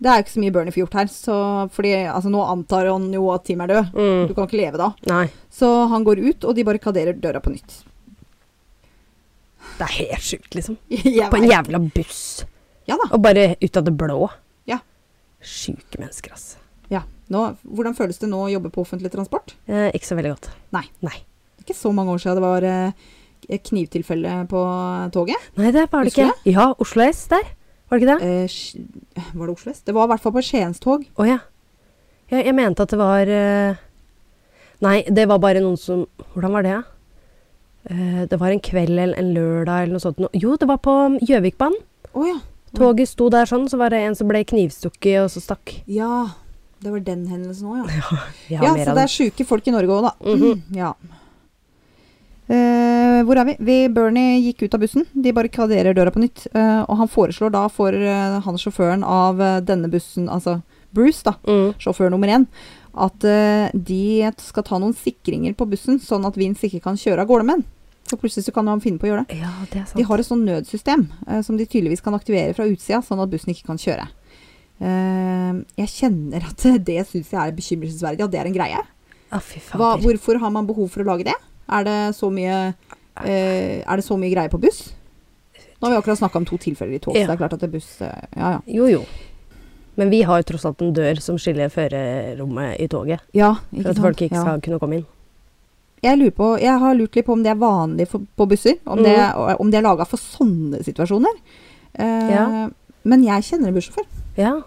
Speaker 1: Det er jo ikke så mye Bernie får gjort her, så, fordi altså, nå antar han jo at Tim er død. Du
Speaker 2: Mm.
Speaker 1: kan ikke leve da.
Speaker 2: Nei,
Speaker 1: Så han går ut, og de barrikaderer døra på nytt.
Speaker 2: det er helt sjukt, liksom.
Speaker 1: Jeg
Speaker 2: På en
Speaker 1: vet.
Speaker 2: jævla buss.
Speaker 1: Ja da.
Speaker 2: Og bare ut av det blå.
Speaker 1: Ja.
Speaker 2: Sjuke mennesker, altså.
Speaker 1: Ja. Nå, hvordan føles det nå å jobbe på offentlig transport?
Speaker 2: Eh, ikke så veldig godt.
Speaker 1: Nei.
Speaker 2: Nei,
Speaker 1: Det er ikke så mange år siden det var eh, et knivtilfelle på toget.
Speaker 2: Nei det var det
Speaker 1: Husker
Speaker 2: ikke. Ja, Oslo S der. Var det ikke det?
Speaker 1: Eh, Sk- var det Oslo S? Det var i hvert fall på Skiens tog.
Speaker 2: Å ja. ja. Jeg mente at det var eh, Nei, det var bare noen som Hvordan var det, da? Eh, det var en kveld eller en lørdag eller noe sånt. Nå- Jo, det var på um, Gjøvikbanen.
Speaker 1: Å ja.
Speaker 2: Toget sto der sånn, så var det en som ble knivstukket, og så stakk.
Speaker 1: Ja. Det var den hendelsen òg, ja.
Speaker 2: Vi har
Speaker 1: Ja,
Speaker 2: mer
Speaker 1: så det
Speaker 2: av det.
Speaker 1: er sjuke folk i Norge òg, da.
Speaker 2: Mhm.
Speaker 1: Ja. Eh, hvor er vi? vi? Bernie gikk ut av bussen. De barrikaderer døra på nytt. eh, og han foreslår da for eh, han sjåføren av eh, denne bussen, altså Bruce, da,
Speaker 2: Mm.
Speaker 1: sjåfør nummer én, at eh, de skal ta noen sikringer på bussen, sånn at Vince ikke kan kjøre av gårde med den. For plutselig så kan han finne på å gjøre det.
Speaker 2: Ja, det er sant.
Speaker 1: De har et sånt nødsystem eh, som de tydeligvis kan aktivere fra utsida, sånn at bussen ikke kan kjøre. Eh, jeg kjenner at det syns jeg er bekymringsverdig, at det er en greie.
Speaker 2: Å, Ah, fy fader.
Speaker 1: Hva, hvorfor har man behov for å lage det? Er det så mye, eh, er det så mye greier på buss? Nå har vi akkurat snakka om to tilfeller i tog, så
Speaker 2: Ja.
Speaker 1: det er klart at det er buss eh, Ja, ja.
Speaker 2: Jo, jo. Men vi har jo tross alt en dør som skiller førerrommet i toget.
Speaker 1: ja
Speaker 2: For
Speaker 1: ikke
Speaker 2: at folk
Speaker 1: sant?
Speaker 2: ikke
Speaker 1: Ja.
Speaker 2: skal kunne komme inn.
Speaker 1: Jeg, lurer på, jeg har lurt litt på om det er vanlig for, på busser. Om,
Speaker 2: Mm.
Speaker 1: det, om det er laga for sånne situasjoner. Eh,
Speaker 2: Ja.
Speaker 1: Men jeg kjenner en bussjåfør.
Speaker 2: Ja.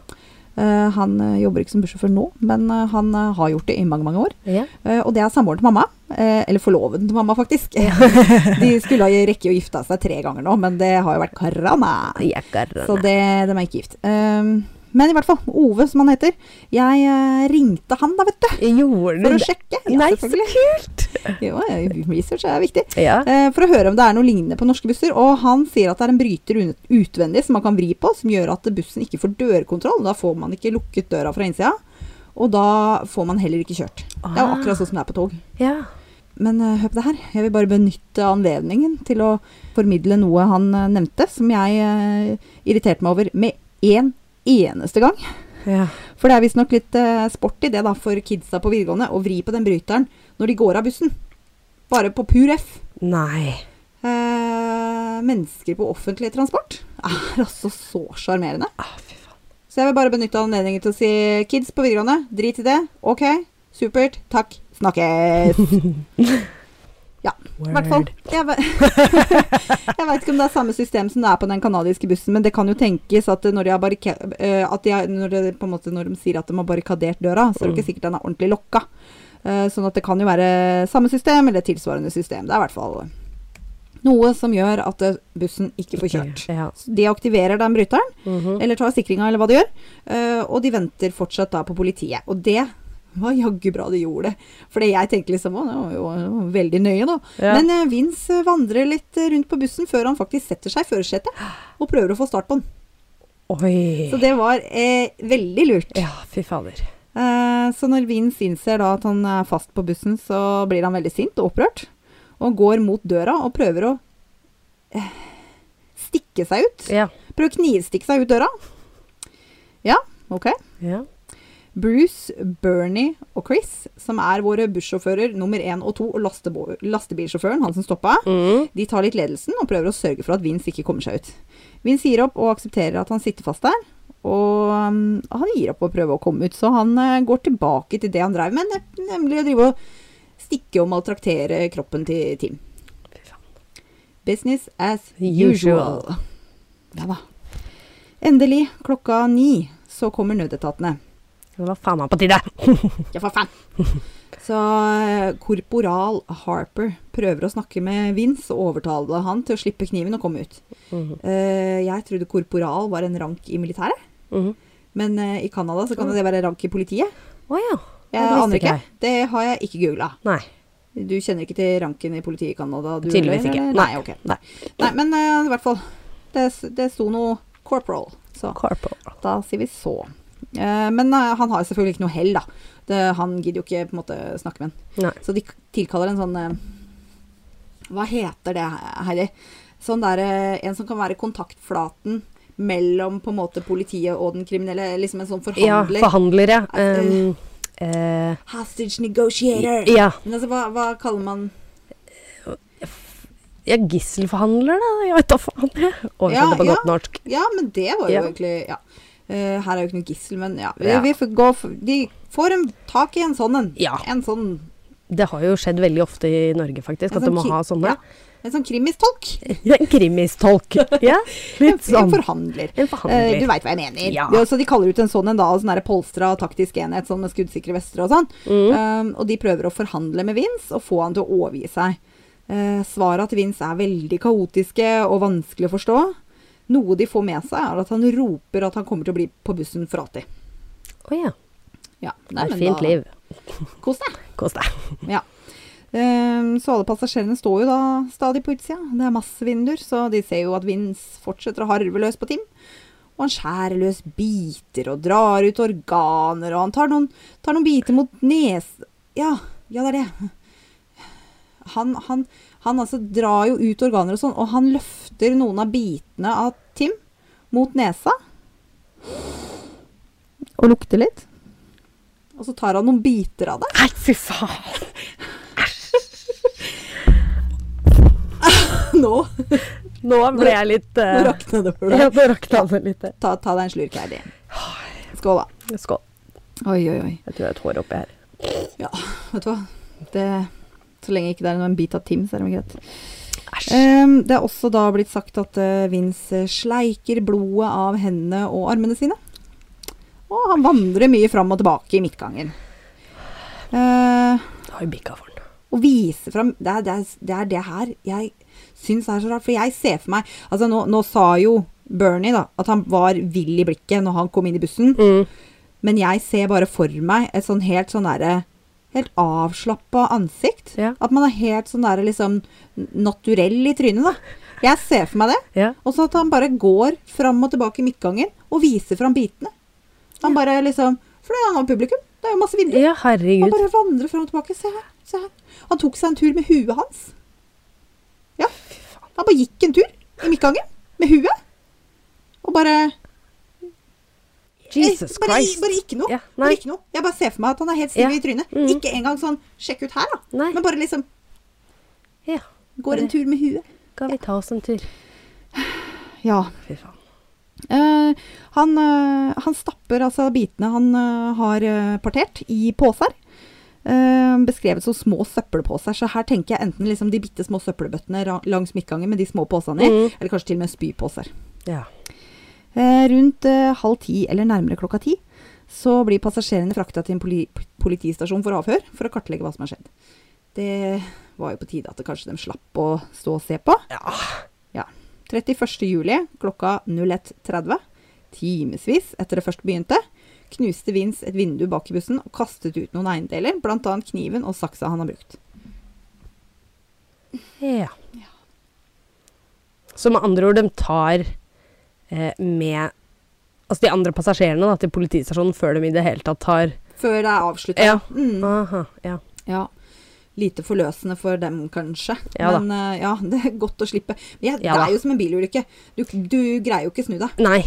Speaker 1: Eh, han eh, jobber ikke som bussjåfør nå, men eh, han eh, har gjort det i mange, mange år.
Speaker 2: ja.
Speaker 1: Eh, og det er samboeren til mamma. eh, eller forloveden til mamma, faktisk. de skulle ha rekke å gifte seg tre ganger nå, men det har jo vært korona. Så
Speaker 2: Jækkarane.
Speaker 1: det, de er ikke gift. Ehm, men i hvert fall, Ove, som han heter. Jeg eh, ringte han da, vet du,
Speaker 2: Gjorde
Speaker 1: for å
Speaker 2: du det?
Speaker 1: sjekke.
Speaker 2: Nei, så
Speaker 1: kult! jo, eh, research er viktig.
Speaker 2: Ja.
Speaker 1: Eh, for å høre om det er noe lignende på norske busser. Og han sier at det er en bryter un- utvendig som man kan vri på, som gjør at bussen ikke får dørkontroll. Da får man ikke lukket døra fra innsida, og da får man heller ikke kjørt. Det er jo
Speaker 2: Ah.
Speaker 1: akkurat sånn som det er på tog.
Speaker 2: ja.
Speaker 1: Men eh, hør på det her. Jeg vil bare benytte anledningen til å formidle noe han eh, nevnte, som jeg eh, irriterte meg over med én eneste gang.
Speaker 2: ja.
Speaker 1: For det er visstnok litt eh, sport i det da, for kidsa på videregående å vri på den bryteren når de går av bussen. Bare på pur F.
Speaker 2: Nei.
Speaker 1: Eh, mennesker på offentlig transport er altså så sjarmerende.
Speaker 2: Ah, fy faen.
Speaker 1: Så jeg vil bare benytte anledningen til å si kids på videregående, drit i det. Ok, supert. Takk. Snakkes. I hvert fall.
Speaker 2: Word.
Speaker 1: Jeg, ve- jeg veit ikke om det er samme system som det er på den kanadiske bussen, men det kan jo tenkes at når de, har barrika eh, at de, har- når, de, på en måte, når de sier at de har barrikadert døra, så er det ikke sikkert den er ordentlig lokka. Eh, Sånn at det kan jo være samme system eller tilsvarende system. Det er i hvert fall noe som gjør at eh, bussen ikke får kjørt.
Speaker 2: Ja.
Speaker 1: Så De aktiverer den bryteren,
Speaker 2: Mhm.
Speaker 1: eller tar sikringa, eller hva de gjør. eh, Og de venter fortsatt da på politiet. Og det var jaggu bra de gjorde. Fordi jeg tenkte liksom å, det var jo det var veldig nøye, da.
Speaker 2: Ja.
Speaker 1: Men eh, Vince eh, vandrer litt eh, rundt på bussen før han faktisk setter seg i førersetet og prøver å få start på den.
Speaker 2: Oi.
Speaker 1: Så det var eh, veldig lurt.
Speaker 2: Ja, fy fader.
Speaker 1: Eh, så når Vince innser da at han er fast på bussen, så blir han veldig sint og opprørt. Og går mot døra og prøver å eh, stikke seg ut.
Speaker 2: Ja.
Speaker 1: Prøver å knivstikke seg ut døra. Ja, ok.
Speaker 2: ja.
Speaker 1: Bruce, Bernie og Chris, som er våre bussjåfører nummer én og to, og lastebo- lastebilsjåføren, han som stoppa,
Speaker 2: Mm.
Speaker 1: de tar litt ledelsen og prøver å sørge for at Vince ikke kommer seg ut. Vince gir opp og aksepterer at han sitter fast der, og um, han gir opp å prøve å komme ut, så han eh, går tilbake til det han drev med, ne- nemlig å drive og stikke og maltraktere kroppen til Tim.
Speaker 2: Fy faen.
Speaker 1: Business as usual.
Speaker 2: Usual.
Speaker 1: Ja da. Endelig, klokka ni, så kommer nødetatene.
Speaker 2: Det var faen meg på tide.
Speaker 1: Ja, for faen! Så eh, korporal Harper prøver å snakke med Vince og overtale han til å slippe kniven og komme ut.
Speaker 2: Mhm.
Speaker 1: Eh, jeg trodde korporal var en rank i militæret,
Speaker 2: Mhm.
Speaker 1: men eh, i Canada så kan det være rank i politiet.
Speaker 2: Å ja.
Speaker 1: Jeg
Speaker 2: Mhm. Ja, det visste
Speaker 1: aner ikke.
Speaker 2: jeg.
Speaker 1: Det har jeg ikke googla.
Speaker 2: Nei.
Speaker 1: Du kjenner ikke til ranken i politiet i Canada? du,
Speaker 2: Tydeligvis
Speaker 1: eller?
Speaker 2: ikke.
Speaker 1: Nei, ok. Nei, Nei men eh, i hvert fall. Det, s- det sto noe corporal, så
Speaker 2: Corporal.
Speaker 1: da sier vi så. Eh, men eh, han har jo selvfølgelig ikke noe hell, da. Det, han gidder jo ikke på en måte snakke med han.
Speaker 2: Nei.
Speaker 1: Så de k- tilkaller en sånn eh, Hva heter det, Heidi? Sånn der, eh, en som kan være kontaktflaten mellom på en måte politiet og den kriminelle. Liksom en sånn
Speaker 2: Ja,
Speaker 1: forhandler.
Speaker 2: forhandler, ja.
Speaker 1: Eh,
Speaker 2: Um, eh,
Speaker 1: Hostage negotiator.
Speaker 2: ja.
Speaker 1: Men altså, hva, hva kaller man
Speaker 2: ja, gisselforhandler, da. Jeg vet da faen. jeg.
Speaker 1: Ja,
Speaker 2: Oversatt det på
Speaker 1: ja.
Speaker 2: godt norsk.
Speaker 1: Ja, men det var jo
Speaker 2: Ja.
Speaker 1: egentlig ja. Eh, Her er jo ikke noe gissel, men ja. Vi,
Speaker 2: Ja.
Speaker 1: vi får gå for, de får en tak i en sånn en.
Speaker 2: Ja.
Speaker 1: En sånn,
Speaker 2: Det har jo skjedd veldig ofte i Norge, faktisk,
Speaker 1: En
Speaker 2: at du
Speaker 1: sånn
Speaker 2: må
Speaker 1: ki-
Speaker 2: ha sånne.
Speaker 1: ja. en sånn krimistolk.
Speaker 2: Ja. En krimistolk. Ja,
Speaker 1: En,
Speaker 2: litt
Speaker 1: en
Speaker 2: sånn.
Speaker 1: forhandler. Eh,
Speaker 2: En
Speaker 1: du
Speaker 2: forhandler.
Speaker 1: veit hva jeg mener.
Speaker 2: Ja.
Speaker 1: Det er også- de kaller ut en sånn en da, og sånn der polstra taktisk enhet sånn med skuddsikre vester og sånn.
Speaker 2: Mm.
Speaker 1: Eh, og de prøver å forhandle med Vince og få han til å overgi seg. Uh, Svara til Vince er veldig kaotiske og vanskelig å forstå. Noe de får med seg, er at han roper at han kommer til å bli på bussen for alltid.
Speaker 2: Å ja.
Speaker 1: Ja,
Speaker 2: Det
Speaker 1: nei,
Speaker 2: er
Speaker 1: men
Speaker 2: et fint
Speaker 1: da-
Speaker 2: liv.
Speaker 1: Kos deg.
Speaker 2: Kos deg.
Speaker 1: Ehm, Så alle passasjerene står jo da stadig på utsida. Det er masse vinduer, så de ser jo at Vince fortsetter å harve løs på Tim. Og han skjærer løs biter og drar ut organer, og han tar noen, tar noen biter mot nes... Ja, ja, det er det. Han, han, han altså drar jo ut organer og sånn, og han løfter noen av bitene av Tim mot nesa. Og lukter litt. Og så tar han noen biter av det.
Speaker 2: Nei, fy faen.
Speaker 1: Nå
Speaker 2: Nå ble jeg litt eh,
Speaker 1: Nå rakna det for
Speaker 2: Ja,
Speaker 1: deg.
Speaker 2: nå rakna det litt. eh.
Speaker 1: Ta, ta deg en slurk, Heidi. Skål, da.
Speaker 2: Skål.
Speaker 1: Oi, oi, oi.
Speaker 2: Jeg tror jeg har et hår oppi her.
Speaker 1: Vet du hva? Det, så lenge ikke det er en bit av Tim, så er det greit.
Speaker 2: Æsj.
Speaker 1: Ehm, det er også da blitt sagt at eh, Vince sleiker blodet av hendene og armene sine. Og han vandrer mye fram og tilbake i midtgangen. Eh,
Speaker 2: Det har jo bikka for den.
Speaker 1: Å vise fram det er det, er, det er det her jeg syns er så rart. For jeg ser for meg Altså, nå, nå sa jo Bernie da, at han var vill i blikket når han kom inn i bussen.
Speaker 2: Mm.
Speaker 1: Men jeg ser bare for meg et sånn helt sånn derre Helt avslappa ansikt.
Speaker 2: Ja.
Speaker 1: At man er helt sånn derre liksom n- naturell i trynet, da. Jeg ser for meg det.
Speaker 2: Ja.
Speaker 1: Og så at han bare går fram og tilbake i midtgangen og viser fram bitene. Han bare liksom For det er jo publikum. Det er jo masse vinduer.
Speaker 2: ja,
Speaker 1: Han
Speaker 2: herregud.
Speaker 1: bare vandrer fram og tilbake. Se her, se her. Han tok seg en tur med huet hans. Ja. Han bare gikk en tur i midtgangen med huet. Og bare
Speaker 2: Jesus
Speaker 1: eh, bare,
Speaker 2: Christ.
Speaker 1: Bare ikke noe.
Speaker 2: Ja, nei.
Speaker 1: bare ikke noe. Jeg bare ser for meg at han er helt stille
Speaker 2: Ja.
Speaker 1: i trynet.
Speaker 2: Mhm.
Speaker 1: Ikke engang sånn 'sjekk ut her', da.
Speaker 2: Nei.
Speaker 1: Men bare liksom
Speaker 2: Ja.
Speaker 1: går en
Speaker 2: Bare-
Speaker 1: tur med huet.
Speaker 2: Skal vi ta oss en tur?
Speaker 1: Ja.
Speaker 2: Fy faen.
Speaker 1: Eh, han, eh, han stapper altså bitene han eh, har eh, partert, i poser. Eh, beskrevet som små søppelposer. Så her tenker jeg enten liksom de bitte små søppelbøttene ra- langs midtgangen med de små posene i,
Speaker 2: Mm.
Speaker 1: eller kanskje til og med spyposer.
Speaker 2: Ja.
Speaker 1: Eh, rundt eh, halv ti, eller nærmere klokka ti, så blir passasjerene frakta til en poli politistasjon for avhør for å kartlegge hva som har skjedd. Det var jo på tide at det kanskje de slapp å stå og se på.
Speaker 2: Ja.
Speaker 1: Ja. 31. juli klokka 01.30, timevis etter det først begynte, knuste Vince et vindu bak i bussen og kastet ut noen eiendeler, bl.a. kniven og saksa han har brukt.
Speaker 2: Ja. Så med andre ord, de tar eh, med Altså de andre passasjerene da, til politistasjonen før de i det hele tatt tar
Speaker 1: Før det er avslutta.
Speaker 2: Ja.
Speaker 1: Mm.
Speaker 2: Aha, ja.
Speaker 1: Ja. Lite forløsende for dem, kanskje.
Speaker 2: Ja da.
Speaker 1: Men eh, ja, det er godt å slippe. Men jeg,
Speaker 2: Ja
Speaker 1: det
Speaker 2: da.
Speaker 1: er jo som en bilulykke. Du, du greier jo ikke snu deg.
Speaker 2: Nei.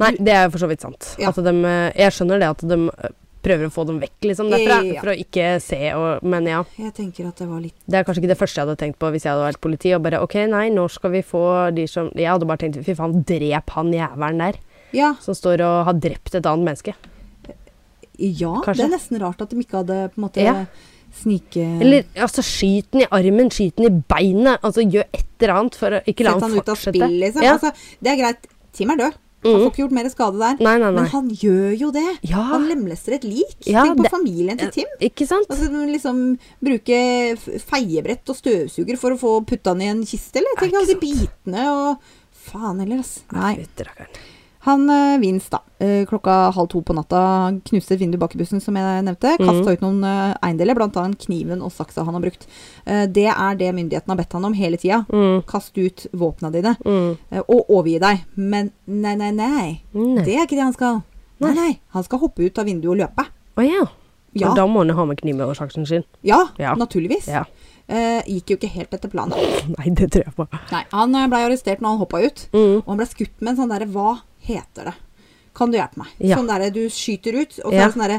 Speaker 2: Nei, det er jo for så vidt sant.
Speaker 1: Ja.
Speaker 2: At de, eh, jeg skjønner det at de eh, prøver å få dem vekk liksom, derfra.
Speaker 1: Ja.
Speaker 2: For å ikke se og Men ja.
Speaker 1: Jeg tenker at det var litt
Speaker 2: Det er kanskje ikke det første jeg hadde tenkt på hvis jeg hadde vært politi. og bare, ok, nei, nå skal vi få de som... Jeg hadde bare tenkt fy faen, drep han jævelen der
Speaker 1: Ja,
Speaker 2: som står og har drept et annet menneske.
Speaker 1: ja det
Speaker 2: Kanskje.
Speaker 1: er nesten rart at de ikke hadde på en måte
Speaker 2: Ja.
Speaker 1: snike...
Speaker 2: Eller altså, skyt den i armen, skyt den i beinet. Altså, gjør et eller annet for å ikke la
Speaker 1: Sett
Speaker 2: han
Speaker 1: han ut av
Speaker 2: fortsette.
Speaker 1: spill, liksom.
Speaker 2: Ja. Mm.
Speaker 1: Altså, det er greit. Tim er død. Han får ikke gjort mer skade der.
Speaker 2: Nei, nei, nei.
Speaker 1: Men han gjør jo det.
Speaker 2: Ja.
Speaker 1: Han lemlester et lik.
Speaker 2: Ja,
Speaker 1: Tenk på
Speaker 2: det-
Speaker 1: familien til Tim.
Speaker 2: Ikke sant?
Speaker 1: Altså, de liksom Bruke f- feiebrett og støvsuger for å få putta han i en kiste, eller? Tenk
Speaker 2: Ja,
Speaker 1: alle de
Speaker 2: ikke
Speaker 1: bitene og Faen heller, ass. Nei.
Speaker 2: Ut, rakkeren.
Speaker 1: Han øh, Vince, da. øh, klokka halv to på natta knuste et vindu bak i bussen, som jeg nevnte.
Speaker 2: Mhm.
Speaker 1: Kasta ut noen øh, eiendeler, bl.a. kniven og saksa han har brukt. Eh, det er det myndighetene har bedt han om hele tida.
Speaker 2: Mhm.
Speaker 1: Kast ut våpna dine. eh, og overgi deg. Men nei, nei, nei.
Speaker 2: Nei.
Speaker 1: Det er ikke det han skal. Nei, nei. Han skal hoppe ut av vinduet og løpe.
Speaker 2: Å ja.
Speaker 1: Ja.
Speaker 2: Men Da må han jo ha med kniven og saksen sin.
Speaker 1: Ja,
Speaker 2: Ja.
Speaker 1: naturligvis.
Speaker 2: Ja.
Speaker 1: Eh, gikk jo ikke helt etter planen.
Speaker 2: Nei, det tror jeg på.
Speaker 1: Nei, Han eh, ble arrestert når han hoppa ut,
Speaker 2: Mm.
Speaker 1: og han ble skutt med en sånn derre Hva heter det? Kan du hjelpe meg?
Speaker 2: Ja.
Speaker 1: Sånn derre du skyter ut, og så
Speaker 2: Ja.
Speaker 1: er det sånn derre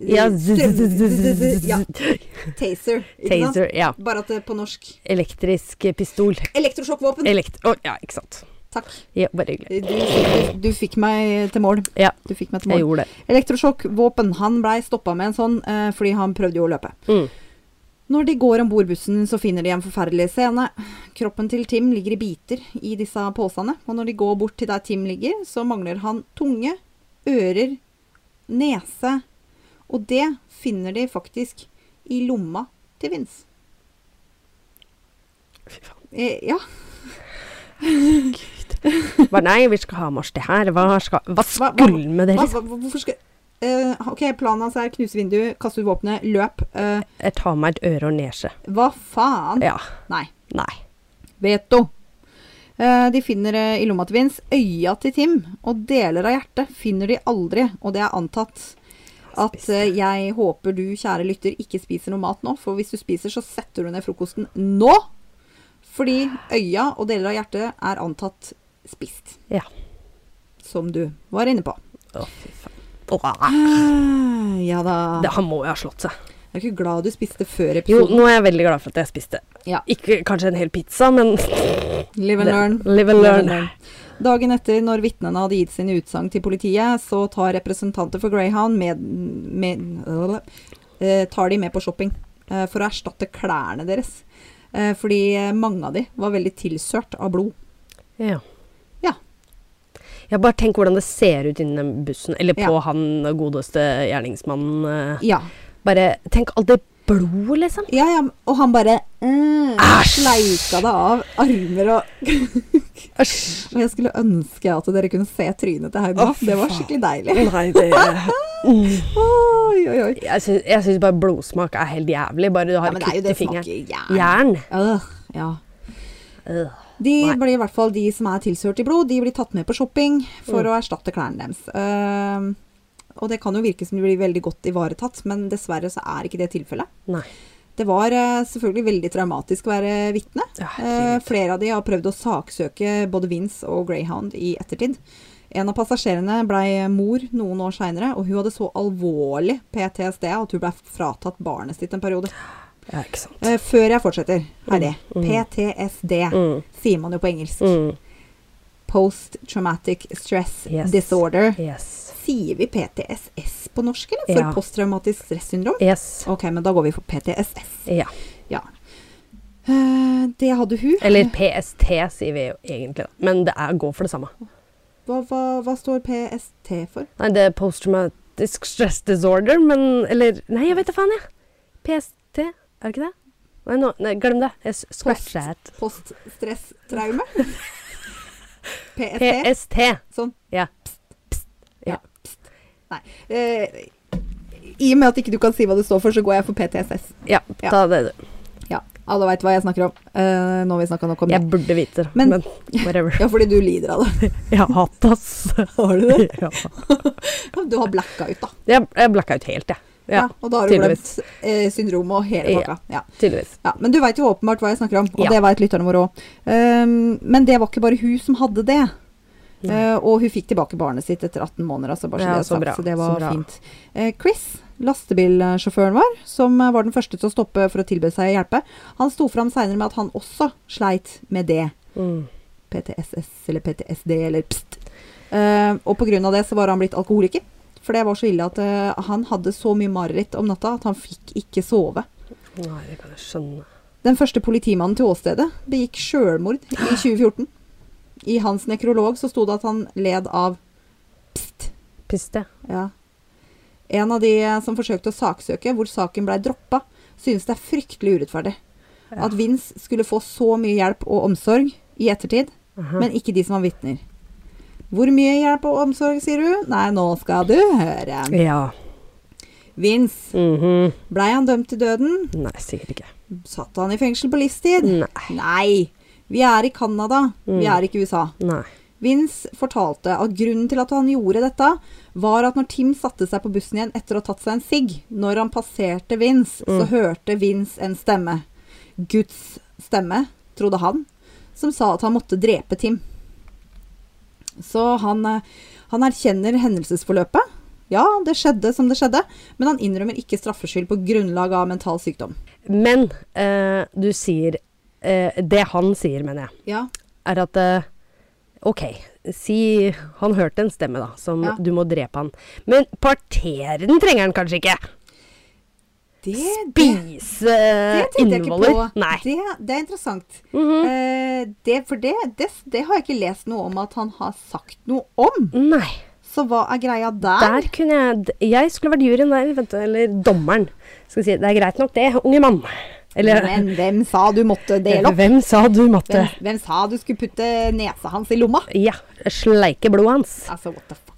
Speaker 1: eh,
Speaker 2: Ja,
Speaker 1: ja, Taser. Ikke sant?
Speaker 2: Taser. Ja.
Speaker 1: Bare at det er på norsk.
Speaker 2: Elektrisk pistol.
Speaker 1: Elektrosjokkvåpen.
Speaker 2: Elekt... Å, ja, ikke sant.
Speaker 1: Takk.
Speaker 2: Ja, bare hyggelig.
Speaker 1: Du, du, du fikk meg til mål.
Speaker 2: Ja,
Speaker 1: Du fikk meg til
Speaker 2: jeg
Speaker 1: mål.
Speaker 2: gjorde det.
Speaker 1: Elektrosjokkvåpen. Han blei stoppa med en sånn eh, fordi han prøvde jo å løpe.
Speaker 2: Mm.
Speaker 1: Når de går om bord bussen, så finner de en forferdelig scene. Kroppen til Tim ligger i biter i disse posene, og når de går bort til der Tim ligger, så mangler han tunge, ører, nese, og det finner de faktisk i lomma til Vince.
Speaker 2: Fy faen.
Speaker 1: Eh, ja,
Speaker 2: Bare nei, vi skal ha med oss det her. Hva, skal, hva
Speaker 1: hva-
Speaker 2: skulle med det?
Speaker 1: hva,
Speaker 2: liksom?
Speaker 1: hva, hvorfor skal eh, OK, planen hans er knuse vinduet, kaste ut våpenet, løp. Eh,
Speaker 2: Jeg tar meg et øre og nesje.
Speaker 1: hva faen?
Speaker 2: Ja.
Speaker 1: Nei.
Speaker 2: Nei.
Speaker 1: Veto. Eh, De finner eh, i lomma til Vince øya til Tim, og deler av hjertet finner de aldri, og det er antatt. At eh, jeg håper du, kjære lytter, ikke spiser noe mat nå, for hvis du spiser, så setter du ned frokosten nå! Fordi øya og deler av hjertet er antatt spist.
Speaker 2: Ja.
Speaker 1: Som du var inne på.
Speaker 2: Å, fy faen. Åh.
Speaker 1: Ah, Ja da.
Speaker 2: Det, han må jo ha slått seg.
Speaker 1: Jeg er ikke glad du spiste før
Speaker 2: Jo,
Speaker 1: episoden.
Speaker 2: nå er jeg veldig glad for at jeg spiste.
Speaker 1: Ja.
Speaker 2: Ikke kanskje en hel pizza, men
Speaker 1: Live and
Speaker 2: Det-
Speaker 1: learn.
Speaker 2: live and learn.
Speaker 1: Dagen etter, når vitnene hadde gitt sine utsagn til politiet, så tar representanter for Greyhound med, med eh, tar de med på shopping eh, for å erstatte klærne deres. Eh, fordi eh, mange av de var veldig tilsørt av blod.
Speaker 2: Ja.
Speaker 1: Ja.
Speaker 2: Ja, bare tenk hvordan det ser ut inni den bussen, eller på
Speaker 1: Ja.
Speaker 2: han godeste gjerningsmannen. eh.
Speaker 1: Ja,
Speaker 2: Bare tenk alt det blodet, liksom.
Speaker 1: ja, ja og han bare mm,
Speaker 2: Æsj!
Speaker 1: sleika det av armer og
Speaker 2: Æsj.
Speaker 1: Og jeg skulle ønske at dere kunne se trynet til Haugna.
Speaker 2: Å, fy
Speaker 1: det var
Speaker 2: faen.
Speaker 1: skikkelig deilig.
Speaker 2: Nei, det
Speaker 1: Oi, oi, oi.
Speaker 2: Jeg syns, jeg syns bare blodsmak er helt jævlig. Bare du
Speaker 1: Ja,
Speaker 2: har
Speaker 1: men
Speaker 2: et
Speaker 1: det er jo
Speaker 2: kutt
Speaker 1: det
Speaker 2: i fingeren.
Speaker 1: smaker jern.
Speaker 2: Jern.
Speaker 1: Øh, ja.
Speaker 2: Øh.
Speaker 1: De
Speaker 2: Nei.
Speaker 1: blir i hvert fall de som er tilsørt i blod, de blir tatt med på shopping for
Speaker 2: Mm.
Speaker 1: å erstatte klærne deres. Ehm, og det kan jo virke som de blir veldig godt ivaretatt, men dessverre så er ikke det tilfellet.
Speaker 2: Nei.
Speaker 1: Det var eh, selvfølgelig veldig traumatisk å være vitne.
Speaker 2: Ja,
Speaker 1: Eh,
Speaker 2: herregud.
Speaker 1: flere av de har prøvd å saksøke både Vince og Greyhound i ettertid. En av passasjerene blei mor noen år seinere, og hun hadde så alvorlig PTSD at hun blei fratatt barnet sitt en periode.
Speaker 2: Ja, ikke sant.
Speaker 1: Eh, før jeg fortsetter, Heidi. PTSD sier man jo på engelsk.
Speaker 2: Mm.
Speaker 1: Post Traumatic Stress
Speaker 2: Yes.
Speaker 1: Disorder.
Speaker 2: Yes.
Speaker 1: Sier vi PTSS på norsk, eller? For
Speaker 2: Ja.
Speaker 1: posttraumatisk stressyndrom?
Speaker 2: Yes.
Speaker 1: Ok, men da går vi for PTSS.
Speaker 2: Ja.
Speaker 1: Ja. Eh, det hadde hun.
Speaker 2: Eller PST, sier vi jo egentlig, da. Men det er, går for det samme.
Speaker 1: Hva, hva, hva står PST for?
Speaker 2: Nei, det er post-traumatic Post-traumatisk stress disorder, men Eller Nei, jeg vet da faen, jeg. PST, er det ikke det? Nei, nå, nei glem det. Jeg s- scratch that.
Speaker 1: Poststresstraume. PST.
Speaker 2: PST.
Speaker 1: Sånn.
Speaker 2: Ja.
Speaker 1: Ja. Pst. Nei. Eh, I og med at ikke du kan si hva det står for, så går jeg for PTSS.
Speaker 2: Ja,
Speaker 1: Ja.
Speaker 2: ta det du.
Speaker 1: Ja, alle veit hva jeg snakker om. Eh, nå har vi snakka nok om det.
Speaker 2: Jeg burde vite det,
Speaker 1: Men-
Speaker 2: men, whatever.
Speaker 1: Ja, fordi du lider av det.
Speaker 2: Jeg har hatt ass.
Speaker 1: Har du det?
Speaker 2: Ja.
Speaker 1: Du har blacka ut, da.
Speaker 2: Jeg, jeg blacka ut helt, jeg. Ja.
Speaker 1: Ja, og da har du
Speaker 2: tydeligvis.
Speaker 1: glemt eh, syndromet og hele
Speaker 2: Ja.
Speaker 1: pakka. Ja.
Speaker 2: Tydeligvis.
Speaker 1: Ja, men du veit jo åpenbart hva jeg snakker om, og
Speaker 2: Ja.
Speaker 1: det veit lytterne våre òg. men det var ikke bare hun som hadde det. Eh, og hun fikk tilbake barnet sitt etter 18 måneder. Altså, bare så,
Speaker 2: Ja,
Speaker 1: det er
Speaker 2: så
Speaker 1: sagt,
Speaker 2: bra,
Speaker 1: så det
Speaker 2: så
Speaker 1: var
Speaker 2: bra.
Speaker 1: fint. Eh, Chris, lastebilsjåføren vår, som eh, var den første til å stoppe for å tilby seg å hjelpe, han sto fram seinere med at han også sleit med det.
Speaker 2: Mm.
Speaker 1: PTSS eller PTSD eller pst. Eh, og pga. det så var han blitt alkoholiker. For det var så ille at eh, han hadde så mye mareritt om natta at han fikk ikke sove.
Speaker 2: Nei, det kan jeg skjønne.
Speaker 1: Den første politimannen til åstedet begikk sjølmord i 2014. I hans nekrolog så sto det at han led av pst.
Speaker 2: Piste.
Speaker 1: Ja. En av de som forsøkte å saksøke, hvor saken blei droppa, synes det er fryktelig urettferdig.
Speaker 2: Ja.
Speaker 1: At Vince skulle få så mye hjelp og omsorg i ettertid,
Speaker 2: Aha.
Speaker 1: men ikke de som var vitner. Hvor mye hjelp og omsorg, sier du? Nei, nå skal du høre.
Speaker 2: Ja.
Speaker 1: Vince,
Speaker 2: Mhm.
Speaker 1: blei han dømt til døden?
Speaker 2: Nei, sikkert ikke.
Speaker 1: Satt han i fengsel på livstid?
Speaker 2: Nei.
Speaker 1: Nei, vi er i Canada, vi er ikke i USA.
Speaker 2: Nei.
Speaker 1: Vince fortalte at grunnen til at han gjorde dette, var at når Tim satte seg på bussen igjen etter å ha tatt seg en sigg, når han passerte Vince, så hørte Vince en stemme. Guds stemme, trodde han, som sa at han måtte drepe Tim. Så han, eh, han erkjenner hendelsesforløpet. Ja, det skjedde som det skjedde, men han innrømmer ikke straffskyld på grunnlag av mental sykdom.
Speaker 2: Men eh, du sier eh, Det han sier, mener jeg,
Speaker 1: Ja,
Speaker 2: er at eh, OK, si Han hørte en stemme, da, som
Speaker 1: Ja.
Speaker 2: du må drepe han. Men partere den trenger han kanskje ikke?
Speaker 1: det,
Speaker 2: Spise
Speaker 1: Det
Speaker 2: eh,
Speaker 1: tenkte jeg ikke
Speaker 2: innvoller?
Speaker 1: på.
Speaker 2: Nei.
Speaker 1: Det, det er interessant.
Speaker 2: Mhm.
Speaker 1: Eh, det, for det, det, det har jeg ikke lest noe om at han har sagt noe om.
Speaker 2: Nei.
Speaker 1: Så hva er greia der?
Speaker 2: Der kunne jeg d- Jeg skulle vært juryen der, vet du. Eller dommeren. Skal si, det er greit nok, det, unge mann. Eller
Speaker 1: Men hvem sa du måtte dele opp?
Speaker 2: Hvem sa du måtte
Speaker 1: Hvem, hvem sa du skulle putte nesa hans i lomma?
Speaker 2: Ja, sleike blodet hans.
Speaker 1: Altså, what the fuck.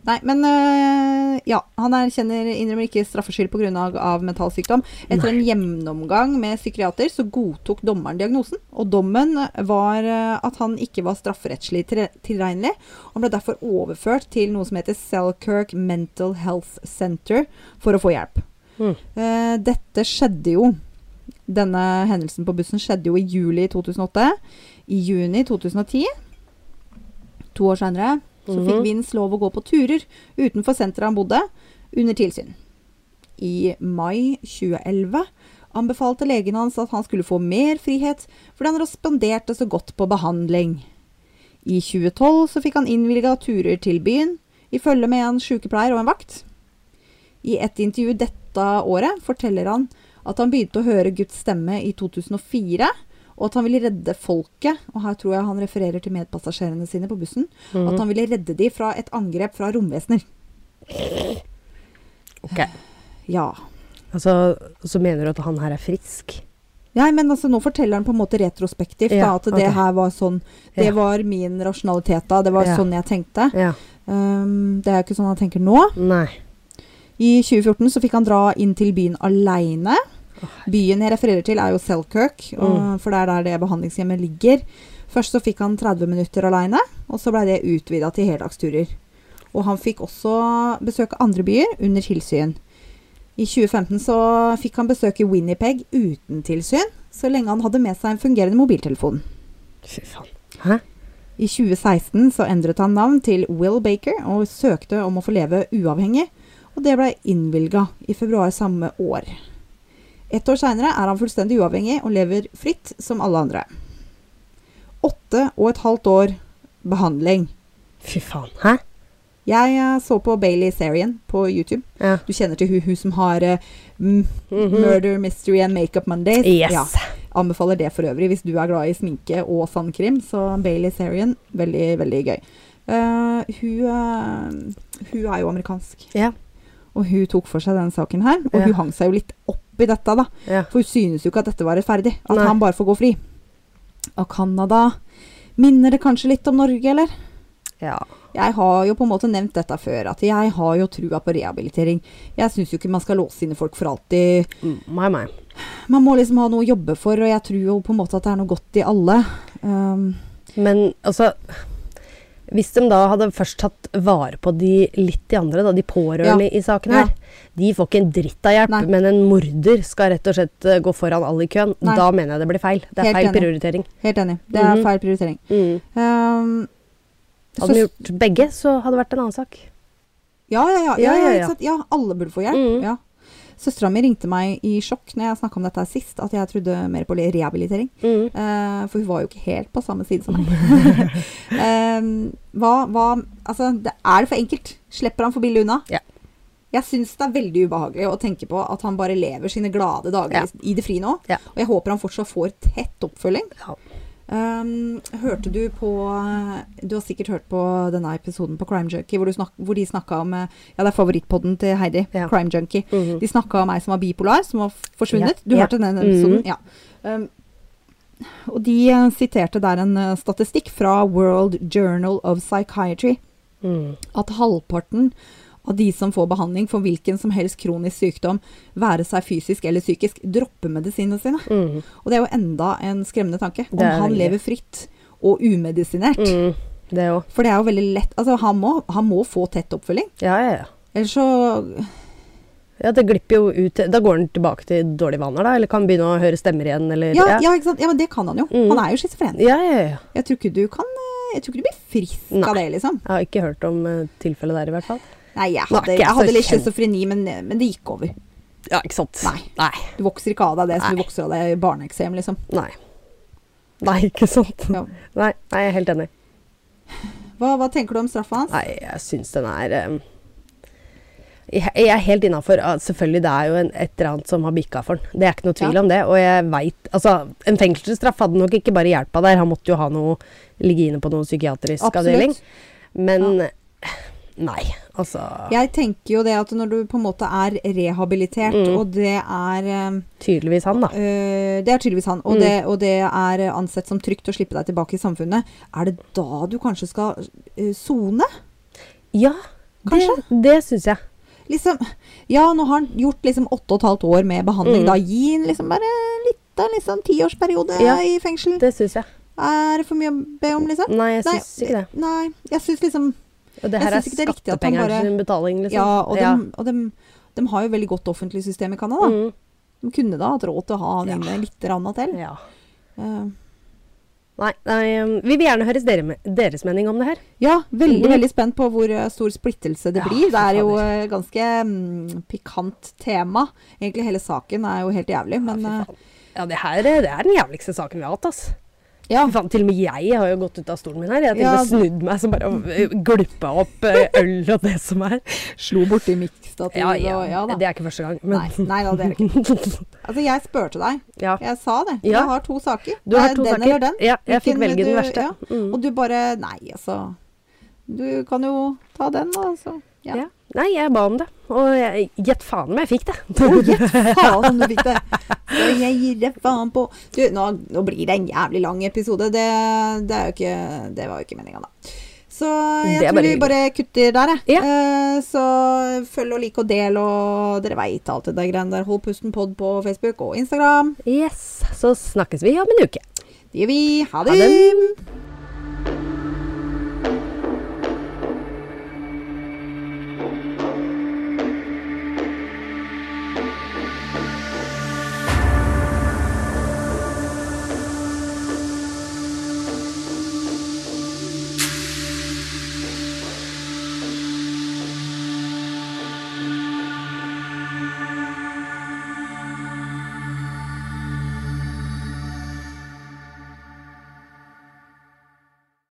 Speaker 1: Nei, men eh, ja. Han erkjenner innrømmer ikke straffskyld pga. av mental sykdom. Etter en gjennomgang med psykiater så godtok dommeren diagnosen, og dommen var eh, at han ikke var strafferettslig til- tilregnelig, og ble derfor overført til noe som heter Selkirk Mental Health Center for å få hjelp.
Speaker 2: Mm.
Speaker 1: Eh, dette skjedde jo Denne hendelsen på bussen skjedde jo i juli 2008. I juni 2010, to år seinere, så fikk
Speaker 2: Mhm.
Speaker 1: Vince lov å gå på turer utenfor senteret han bodde, under tilsyn. I mai 2011 anbefalte legen hans at han skulle få mer frihet, fordi han responderte så godt på behandling. I 2012 så fikk han innvilga turer til byen, i følge med en sykepleier og en vakt. I et intervju dette året forteller han at han begynte å høre Guds stemme i 2004, og at han ville redde folket, og her tror jeg han refererer til medpassasjerene sine på bussen,
Speaker 2: Mm.
Speaker 1: at han ville redde de fra et angrep fra romvesener.
Speaker 2: Ok.
Speaker 1: Ja.
Speaker 2: Altså, så mener du at han her er frisk?
Speaker 1: Nei, men altså, nå forteller han på en måte retrospektivt da,
Speaker 2: Ja,
Speaker 1: at det
Speaker 2: ok.
Speaker 1: her var sånn Det
Speaker 2: Ja.
Speaker 1: var min rasjonalitet da, det var
Speaker 2: Ja.
Speaker 1: sånn jeg tenkte.
Speaker 2: Ja.
Speaker 1: Um, det er jo ikke sånn han tenker nå.
Speaker 2: Nei.
Speaker 1: I 2014 så fikk han dra inn til byen aleine. Byen jeg refererer til, er jo Selkirk, og, for det er der det behandlingshjemmet ligger. Først så fikk han 30 minutter aleine, og så blei det utvida til heldagsturer. Og han fikk også besøke andre byer under tilsyn. I 2015 så fikk han besøke Winnipeg uten tilsyn, så lenge han hadde med seg en fungerende mobiltelefon.
Speaker 2: Fy faen. Hæ?
Speaker 1: I 2016 så endret han navn til Will Baker og søkte om å få leve uavhengig, og det ble innvilga i februar samme år. Ett år seinere er han fullstendig uavhengig og lever fritt som alle andre. Åtte og et halvt år behandling.
Speaker 2: Fy faen. Hæ?
Speaker 1: Jeg eh, så på Bailey Sarian på YouTube.
Speaker 2: Ja.
Speaker 1: Du kjenner til hun, hun som har eh, m-
Speaker 2: Mhm.
Speaker 1: Murder, Mystery and Makeup Mondays.
Speaker 2: Yes.
Speaker 1: Ja. Anbefaler det for øvrig hvis du er glad i sminke og sandkrim. Så Bailey Sarian, veldig, veldig gøy. Eh, hun, eh, hun er jo amerikansk.
Speaker 2: Ja.
Speaker 1: Og hun tok for seg denne saken her, og
Speaker 2: Ja.
Speaker 1: hun hang seg jo litt opp i dette, da.
Speaker 2: Ja.
Speaker 1: For hun synes jo ikke at dette var rettferdig. At
Speaker 2: Nei.
Speaker 1: han bare får gå fri. Og Canada Minner det kanskje litt om Norge, eller?
Speaker 2: ja.
Speaker 1: Jeg har jo på en måte nevnt dette før, at jeg har jo trua på rehabilitering. Jeg syns jo ikke man skal låse inne folk for alltid.
Speaker 2: Mai, mai.
Speaker 1: Man må liksom ha noe å jobbe for, og jeg tror jo på en måte at det er noe godt i alle. Um,
Speaker 2: Men altså Hvis de da hadde først tatt vare på de litt de andre, da, de pårørende i saken her De får ikke en dritt av hjelp,
Speaker 1: Nei.
Speaker 2: men en morder skal rett og slett eh, gå foran alle i køen.
Speaker 1: Nei.
Speaker 2: Da mener jeg det blir feil. Det er
Speaker 1: Helt
Speaker 2: feil
Speaker 1: enig.
Speaker 2: prioritering.
Speaker 1: helt enig. Det er
Speaker 2: Mhm.
Speaker 1: feil prioritering. Um,
Speaker 2: Hadde de gjort begge, så hadde det vært en annen sak.
Speaker 1: Ja, ja, ja. ja,
Speaker 2: Ja,
Speaker 1: ja,
Speaker 2: ja,
Speaker 1: ikke
Speaker 2: ja.
Speaker 1: sant? ja alle burde få hjelp.
Speaker 2: Mm.
Speaker 1: Ja. Søstera mi ringte meg i sjokk når jeg snakka om dette her sist, at jeg trodde mer på rehabilitering.
Speaker 2: Mm.
Speaker 1: Eh, for hun var jo ikke helt på samme side som meg. Em, hva, hva Altså, det er det for enkelt? Slipper han for billig unna?
Speaker 2: Ja.
Speaker 1: Jeg syns det er veldig ubehagelig å tenke på at han bare lever sine glade dager
Speaker 2: Ja.
Speaker 1: i det fri nå.
Speaker 2: Ja.
Speaker 1: Og jeg håper han fortsatt får tett oppfølging.
Speaker 2: Ja.
Speaker 1: Ehm, hørte du på Du har sikkert hørt på denne episoden på Crime Junkie hvor, du snak, hvor de snakka om eh, Ja, det er favorittpodden til Heidi.
Speaker 2: Ja.
Speaker 1: Crime Junkie.
Speaker 2: Mhm.
Speaker 1: De snakka om ei som var bipolar, som var f- forsvunnet.
Speaker 2: Ja,
Speaker 1: Du
Speaker 2: ja.
Speaker 1: hørte den episoden?
Speaker 2: Mhm.
Speaker 1: Ja. Ehm, og de eh, siterte der en eh, statistikk fra World Journal of Psychiatry
Speaker 2: Mm.
Speaker 1: at halvparten av de som får behandling for hvilken som helst kronisk sykdom, være seg fysisk eller psykisk, dropper medisinene sine.
Speaker 2: Mm.
Speaker 1: Og det er jo enda en skremmende tanke. Om
Speaker 2: Det er
Speaker 1: han
Speaker 2: veldig.
Speaker 1: lever fritt og umedisinert.
Speaker 2: Mm. Det òg.
Speaker 1: For det er jo veldig lett Altså, han må, han må få tett oppfølging.
Speaker 2: Ja, ja, ja.
Speaker 1: Ellers så
Speaker 2: Ja, Det glipper jo ut Da går den tilbake til dårlige vaner, da? Eller kan begynne å høre stemmer igjen, eller
Speaker 1: Ja, ja ikke sant? Ja, men det kan han jo.
Speaker 2: Mm.
Speaker 1: Han er jo schizofren.
Speaker 2: ja, ja, ja.
Speaker 1: Jeg tror ikke du kan eh, Jeg tror ikke du blir frisk av det, liksom.
Speaker 2: Jeg har ikke hørt om eh, tilfellet der, i hvert fall.
Speaker 1: Nei, jeg
Speaker 2: Nå er
Speaker 1: hadde,
Speaker 2: ikke jeg
Speaker 1: jeg
Speaker 2: så
Speaker 1: hadde litt
Speaker 2: kjent.
Speaker 1: schizofreni, men, men det gikk over.
Speaker 2: Ja, ikke sant?
Speaker 1: Nei.
Speaker 2: Nei.
Speaker 1: Du vokser ikke av deg det som du
Speaker 2: Nei.
Speaker 1: vokser av deg barneeksem, liksom.
Speaker 2: Nei. Nei, ikke sant?
Speaker 1: Ja.
Speaker 2: Nei, nei, jeg er helt enig.
Speaker 1: Hva, hva tenker du om straffa hans?
Speaker 2: Nei, jeg syns den er eh, Jeg jeg er helt innafor. Ah, Selvfølgelig, det er jo en, et eller annet som har bikka for den. Det er ikke noe tvil
Speaker 1: Ja.
Speaker 2: om det. Og jeg veit Altså, en fengselsstraff hadde nok ikke bare hjelpa der. Han måtte jo ha noe ligge inne på noen psykiatrisk avdeling. Men eh, nei, altså
Speaker 1: Jeg tenker jo det at når du på en måte er rehabilitert,
Speaker 2: Mm.
Speaker 1: og det er eh,
Speaker 2: Tydeligvis han, da.
Speaker 1: Eh, det er tydeligvis han, og,
Speaker 2: Mm.
Speaker 1: det, og det er ansett som trygt å slippe deg tilbake i samfunnet. Er det da du kanskje skal eh, sone?
Speaker 2: Ja, det, det syns jeg.
Speaker 1: liksom, ja, nå har han gjort liksom åtte og et halvt år med behandling.
Speaker 2: Mm.
Speaker 1: Da gi han liksom bare litt av liksom tiårsperiode
Speaker 2: Ja,
Speaker 1: i fengsel.
Speaker 2: Det syns jeg.
Speaker 1: Er det for mye å be om, liksom?
Speaker 2: Nei, jeg syns ikke det.
Speaker 1: Nei, jeg syns liksom
Speaker 2: Og det
Speaker 1: Jeg
Speaker 2: her er
Speaker 1: synes ikke det er riktig at han
Speaker 2: skattepenger
Speaker 1: bare-
Speaker 2: sin betaling, liksom.
Speaker 1: Ja, og, Dem, og dem, dem har jo veldig godt offentlig system i Canada.
Speaker 2: Mm,
Speaker 1: De kunne da hatt råd til å ha han
Speaker 2: Ja.
Speaker 1: inne litt rann til.
Speaker 2: ja.
Speaker 1: Eh,
Speaker 2: Nei, nei, um, vi vil gjerne høre dere, me- deres mening om det her.
Speaker 1: Ja, veldig
Speaker 2: Mhm.
Speaker 1: veldig spent på hvor eh, stor splittelse det
Speaker 2: Ja,
Speaker 1: blir. Det
Speaker 2: fy
Speaker 1: er jo
Speaker 2: fader.
Speaker 1: eh, ganske mm, pikant tema. Egentlig hele saken er jo helt jævlig, men
Speaker 2: ja,
Speaker 1: eh,
Speaker 2: fy faen. ja, det her eh, det er den jævligste saken vi har hatt, ass.
Speaker 1: ja.
Speaker 2: Fy faen, til og med jeg har jo gått ut av stolen min her. Jeg har til og
Speaker 1: Ja. altså.
Speaker 2: med snudd meg som bare eh, gluppa opp eh, øl og det som er.
Speaker 1: Slo borti mikstativet
Speaker 2: Ja, ja,
Speaker 1: og ja da.
Speaker 2: Det er ikke første gang, men
Speaker 1: Nei, nei da, det er det ikke. Altså, jeg spurte deg.
Speaker 2: ja.
Speaker 1: Jeg sa det.
Speaker 2: Ja.
Speaker 1: Jeg har to saker.
Speaker 2: Du
Speaker 1: Det
Speaker 2: har
Speaker 1: er
Speaker 2: to
Speaker 1: den
Speaker 2: saker.
Speaker 1: eller den.
Speaker 2: Ja, jeg fikk
Speaker 1: Hvilken
Speaker 2: velge den
Speaker 1: du-
Speaker 2: verste.
Speaker 1: ja.
Speaker 2: Mm.
Speaker 1: Og du bare Nei, altså. Du kan jo ta den, da. Så.
Speaker 2: ja.
Speaker 1: Ja.
Speaker 2: Nei, jeg ba om det. Og jeg- gjett faen om jeg fikk det.
Speaker 1: Faen om du fikk det. Så jeg gir deg faen på Du, nå, nå blir det en jævlig lang episode. Det, det, er jo ikke, det var jo ikke meninga, da. Så jeg
Speaker 2: Det er
Speaker 1: tror
Speaker 2: bare
Speaker 1: vi bare kutter der, jeg.
Speaker 2: Ja.
Speaker 1: Eh, så følg og lik og del, og dere veit alt det der greiene der. Hold pusten pod på Facebook og Instagram.
Speaker 2: Yes, så snakkes vi om en uke.
Speaker 1: Det gjør vi. Ha
Speaker 2: Ha
Speaker 1: det.